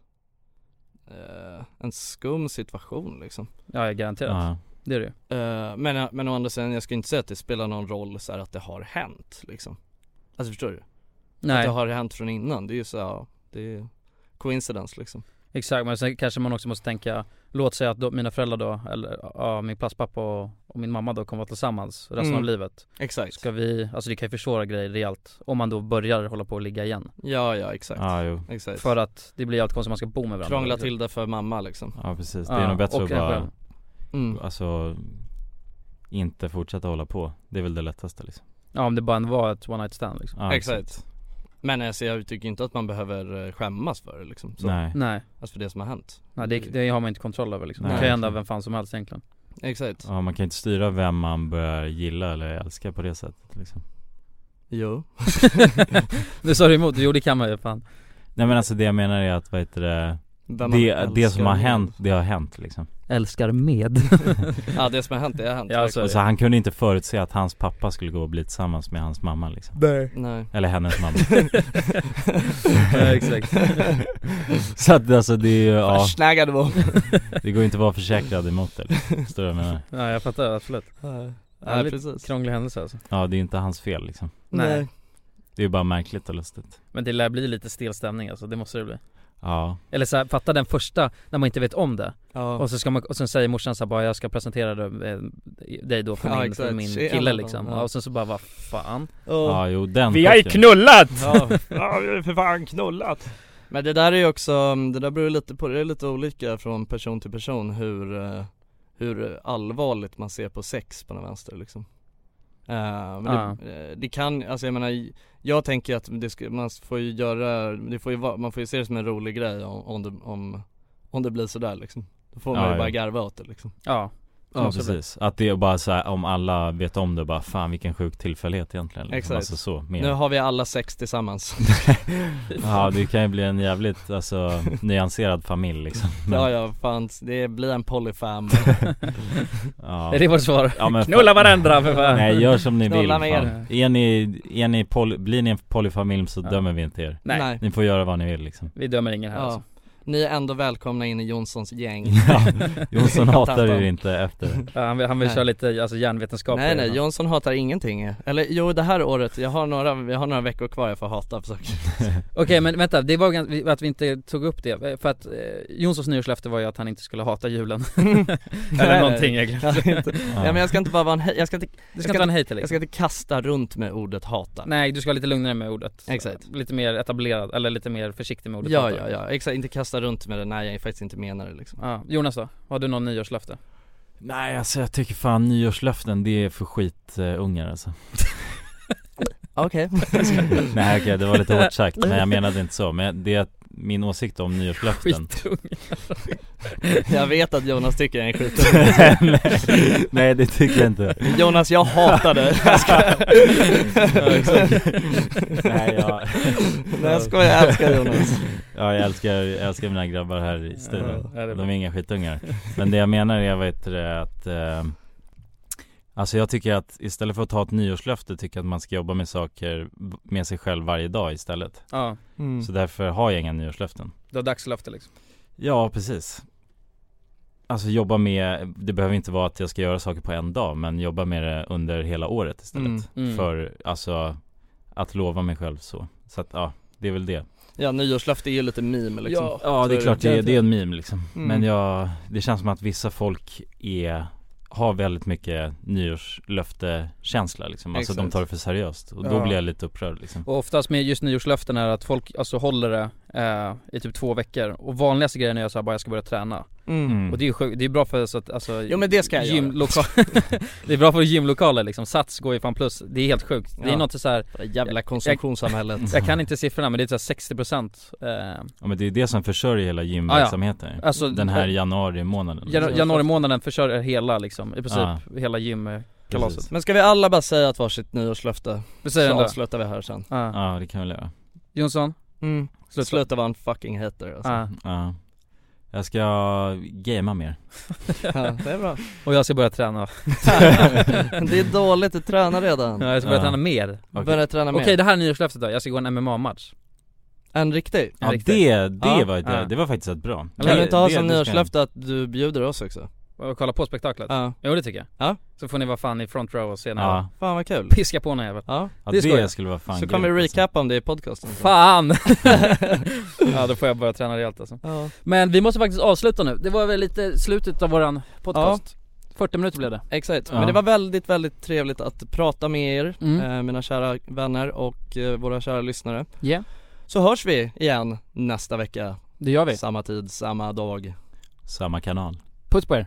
Speaker 4: eh, en skum situation liksom
Speaker 6: Ja, ja, garanterat.
Speaker 2: Ja.
Speaker 6: Det är det ju.
Speaker 4: Eh, men, men å andra sidan, jag skulle inte säga att det spelar någon roll så här att det har hänt liksom Alltså förstår du?
Speaker 6: Nej.
Speaker 4: Att det har hänt från innan, det är ju så här, ja, det är coincidence liksom
Speaker 6: Exakt, men sen kanske man också måste tänka Låt säga att då, mina föräldrar då, eller ja, min plastpappa och och min mamma då kommer vara tillsammans resten
Speaker 5: Mm.
Speaker 6: av livet
Speaker 5: Exakt
Speaker 6: Ska vi, alltså det kan ju försvåra grejer rejält Om man då börjar hålla på och ligga igen
Speaker 5: Ja, ja, exakt. Ja, jo. Exakt.
Speaker 6: För att det blir allt konstigt, man ska bo med varandra
Speaker 5: Krångla till det för mamma liksom Mm.
Speaker 2: Ja precis, det är nog bättre att bara Alltså Inte fortsätta hålla på Det är väl det lättaste liksom
Speaker 6: Ja om det bara var ett one night stand liksom
Speaker 2: Ja,
Speaker 5: exakt. Men alltså, jag tycker inte att man behöver eh, skämmas för det liksom så.
Speaker 2: Nej.
Speaker 6: Nej.
Speaker 5: Alltså för det som har hänt
Speaker 6: Nej det, det har man inte kontroll över liksom,
Speaker 2: Nej,
Speaker 6: det kan ju hända
Speaker 2: verkligen.
Speaker 6: vem fan som helst egentligen <laughs>
Speaker 5: Exakt
Speaker 2: Ja man kan inte styra vem man börjar gilla eller älska på det sättet liksom
Speaker 5: Jo
Speaker 6: Nu sa du emot, jo det kan man ju fan
Speaker 2: Nej men alltså det jag menar är att vad heter det
Speaker 6: Vem man
Speaker 2: det, det som har
Speaker 6: älskar.
Speaker 2: hänt, det har hänt liksom
Speaker 6: Älskar <laughs> med
Speaker 5: Ja det som har hänt, det har hänt
Speaker 6: Ja, alltså, så är
Speaker 2: Och
Speaker 6: <laughs> det.
Speaker 2: så han kunde inte förutse att hans pappa skulle gå och bli tillsammans med hans mamma liksom
Speaker 6: Nej.
Speaker 5: Nej.
Speaker 2: Eller hennes
Speaker 6: <laughs>
Speaker 2: mamma
Speaker 5: Ja, <laughs> exakt.
Speaker 2: <laughs> Så att alltså det är ju, ja
Speaker 5: Fascinaga det var.
Speaker 2: <laughs> Det går inte att vara försäkrad emot det liksom. Förstår du vad jag menar?
Speaker 6: Ja jag fattar, absolut
Speaker 5: Ja,
Speaker 6: Jävligt
Speaker 5: precis.
Speaker 6: Krånglig händelse alltså
Speaker 2: Ja det är inte hans fel liksom
Speaker 6: Nej.
Speaker 2: Det är ju bara märkligt och lustigt
Speaker 6: Men det lär bli lite stel stämning alltså, det måste det bli
Speaker 2: Ja
Speaker 6: Eller så här, fatta den första, när man inte vet om det
Speaker 5: Ja.
Speaker 6: och, så ska man, och sen säger morsan så här, bara jag ska presentera dig, eh, dig då för
Speaker 5: Ja,
Speaker 6: min,
Speaker 5: exakt.
Speaker 6: för min
Speaker 5: Tjena,
Speaker 6: kille
Speaker 5: då.
Speaker 6: liksom
Speaker 5: Ja.
Speaker 6: Och sen så bara, vad fan
Speaker 2: Ja, jo, den
Speaker 6: Vi har ju
Speaker 2: chocken.
Speaker 6: knullat!
Speaker 5: Ja, ja vi har för fan knullat Men det där är ju också, det där beror lite på, det är lite olika från person till person hur, eh, hur allvarligt man ser på sex på den vänster liksom Eh, men det, eh, det kan, alltså jag menar, jag tänker att det ska, man får ju göra, det får ju, vara- man får ju se det som en rolig grej om, om, det, om, om det blir sådär liksom Då får man
Speaker 2: Ja,
Speaker 5: ju bara
Speaker 2: ja.
Speaker 5: garva åt det liksom
Speaker 6: Ja,
Speaker 2: Ja precis, att det är bara så här, om alla vet om det bara fan vilken sjuk tillfällighet egentligen liksom.
Speaker 5: Exakt.
Speaker 2: Alltså så, mer.
Speaker 5: Nu har vi alla sex tillsammans
Speaker 2: Ja det kan ju bli en jävligt alltså nyanserad familj liksom Men-
Speaker 5: Ja ja, fan, det blir en polyfam
Speaker 2: Ja.
Speaker 6: Är det vårt svar?
Speaker 2: Ja, men
Speaker 6: <laughs> Knulla
Speaker 2: fan.
Speaker 6: varandra, för fan.
Speaker 2: Nej gör som ni vill
Speaker 6: Knulla
Speaker 2: fan.
Speaker 6: med er.
Speaker 2: Är ni, är ni poly, blir ni en polyfamilj så dömer vi inte er
Speaker 5: Nej. Nej.
Speaker 2: Ni får göra vad ni vill
Speaker 6: <laughs>
Speaker 2: liksom
Speaker 6: Vi dömer ingen här
Speaker 5: ja.
Speaker 6: alltså
Speaker 5: Ni är ändå välkomna in i Jonssons gäng
Speaker 2: Ja, Jonsson hatar er inte efter
Speaker 6: Ja, Han vill, han vill
Speaker 5: Nej.
Speaker 6: köra lite, alltså hjärnvetenskap
Speaker 5: Nej nej,
Speaker 6: Ja.
Speaker 5: Jonsson hatar ingenting Eller jo det här året, jag har några, vi har några veckor kvar jag får hata på saker
Speaker 6: Okej men vänta, det var gans- att vi inte tog upp det, för att eh, Jonssons nyårslöfte var ju att han inte skulle hata julen <laughs> Eller någonting egentligen
Speaker 5: jag inte. Nej men jag ska inte bara vara en hej, jag ska inte,
Speaker 6: Du ska inte vara en liksom. hater,
Speaker 5: Jag ska inte kasta runt med ordet hata
Speaker 6: Nej du ska vara lite lugnare med ordet
Speaker 5: Exakt.
Speaker 6: Lite mer etablerad, eller lite mer försiktig med ordet
Speaker 5: Ja
Speaker 6: hata.
Speaker 5: ja ja, exakt, inte kasta runt med det när jag faktiskt inte menar det liksom
Speaker 6: Ja. Jonas då? Har du någon nyårslöfte?
Speaker 2: Nej alltså jag tycker fan nyårslöften det är för skitungar alltså
Speaker 5: Okej
Speaker 2: <laughs> Nej okej det var lite hårt sagt men jag menade inte så Men det är att min åsikt om nyårslöften
Speaker 5: Jag vet att Jonas tycker jag är en skit
Speaker 2: <laughs> Nej, Nej det tycker jag inte
Speaker 5: Jonas jag hatar dig Jag skojar.
Speaker 2: Ja, exakt. Nej jag
Speaker 5: Nej jag skojar, jag älskar Jonas
Speaker 2: Ja jag älskar, jag älskar mina grabbar här i studion
Speaker 5: Ja, det är bra.
Speaker 2: De är inga skitungar Men det jag menar är vad heter det, att eh, Alltså jag tycker att istället för att ta ett nyårslöfte tycker jag att man ska jobba med saker med sig själv varje dag istället
Speaker 6: <laughs> Ja. Mm.
Speaker 2: Så därför har jag inga nyårslöften
Speaker 6: Du har dagslöfte liksom?
Speaker 2: Ja, precis. Alltså jobba med, det behöver inte vara att jag ska göra saker på en dag men jobba med det under hela året istället.
Speaker 5: Mm, mm.
Speaker 2: För alltså att lova mig själv så. Så att ja, det är väl det.
Speaker 5: Ja nyårslöfte är ju lite meme liksom
Speaker 2: Ja, det är
Speaker 5: Så
Speaker 2: klart det är, det är en meme liksom.
Speaker 5: Mm.
Speaker 2: Men jag, det känns som att vissa folk är, har väldigt mycket nyårslöftekänsla liksom. Alltså de
Speaker 6: Exakt.
Speaker 2: tar det för seriöst och då
Speaker 6: Ja.
Speaker 2: blir jag lite upprörd liksom.
Speaker 6: Och oftast med just nyårslöften är att folk alltså håller det eh, i typ två veckor Och vanligaste grejen är så här, bara jag ska börja träna
Speaker 5: Mm.
Speaker 6: Och det är ju sjukt, det är bra för så att alltså
Speaker 5: Jo, men det ska jag göra.
Speaker 6: göra <laughs> Det är bra för gymlokaler liksom, Sats går ju fan plus, det är helt sjukt Det är
Speaker 5: Ja.
Speaker 6: något så här
Speaker 5: Det jävla konsumtionssamhället.
Speaker 6: jag, jag kan inte siffrorna men det är typ så här 60% eh,
Speaker 2: Ja men det är det som försörjer hela gymverksamheten
Speaker 6: ja. Alltså,
Speaker 2: Den här
Speaker 6: eh,
Speaker 2: januari månaden liksom.
Speaker 6: Janu- januari månaden försörjer hela liksom, i princip
Speaker 2: Ja.
Speaker 6: hela gymkalaset
Speaker 5: Men ska vi alla bara säga att varsitt nyårslöfte?
Speaker 6: Vi säger
Speaker 5: så
Speaker 6: den där.
Speaker 5: avslutar vi här sen
Speaker 2: Ja det kan vi väl göra
Speaker 6: Jonsson?
Speaker 5: Mm.
Speaker 6: Sluta. Ah.
Speaker 5: Sluta. Sluta vara en fucking hater alltså.
Speaker 6: Ja.
Speaker 2: Ja Jag ska gamea mer
Speaker 5: Ja, det är
Speaker 6: <laughs>
Speaker 5: bra
Speaker 6: Och jag ska börja träna
Speaker 5: Det är dåligt, du tränar redan
Speaker 6: Ja, jag ska börja träna mer
Speaker 5: Börja träna mer
Speaker 6: Okej det här är nyårslöftet då, jag ska gå en MMA-match
Speaker 5: En riktig?
Speaker 2: Ja det, det var ju det, det var faktiskt ett bra
Speaker 5: Kan du inte ha
Speaker 2: Det-
Speaker 5: som
Speaker 2: det ska jag-
Speaker 5: nyårslöfte att du bjuder oss också?
Speaker 6: Och kolla på spektaklet?
Speaker 5: Ja.
Speaker 6: Jo det tycker jag
Speaker 5: Ja
Speaker 6: Så får ni vara fan i front row och se när
Speaker 2: Ja.
Speaker 5: Fan vad kul
Speaker 6: Piska på någon jävel
Speaker 5: Ja,
Speaker 2: Ja,
Speaker 6: ska
Speaker 2: det
Speaker 6: jag.
Speaker 2: skulle vara fan
Speaker 5: Så kommer
Speaker 2: grymt,
Speaker 6: alltså.
Speaker 5: vi recapa om det i podcasten <laughs>
Speaker 6: Fan! ja då får jag börja träna rejält alltså
Speaker 5: Ja.
Speaker 6: Men vi måste faktiskt avsluta nu, det var väl lite slutet av våran podcast 40 minuter blev det
Speaker 9: Exakt,
Speaker 6: Ja.
Speaker 9: men det var väldigt, väldigt trevligt att prata med er,
Speaker 6: Mm.
Speaker 9: eh, mina kära vänner och eh, våra kära lyssnare
Speaker 6: Ja.
Speaker 9: Så hörs vi igen nästa vecka
Speaker 6: Det gör vi
Speaker 9: Samma tid, samma dag
Speaker 2: alltså. Samma kanal
Speaker 6: Puss på er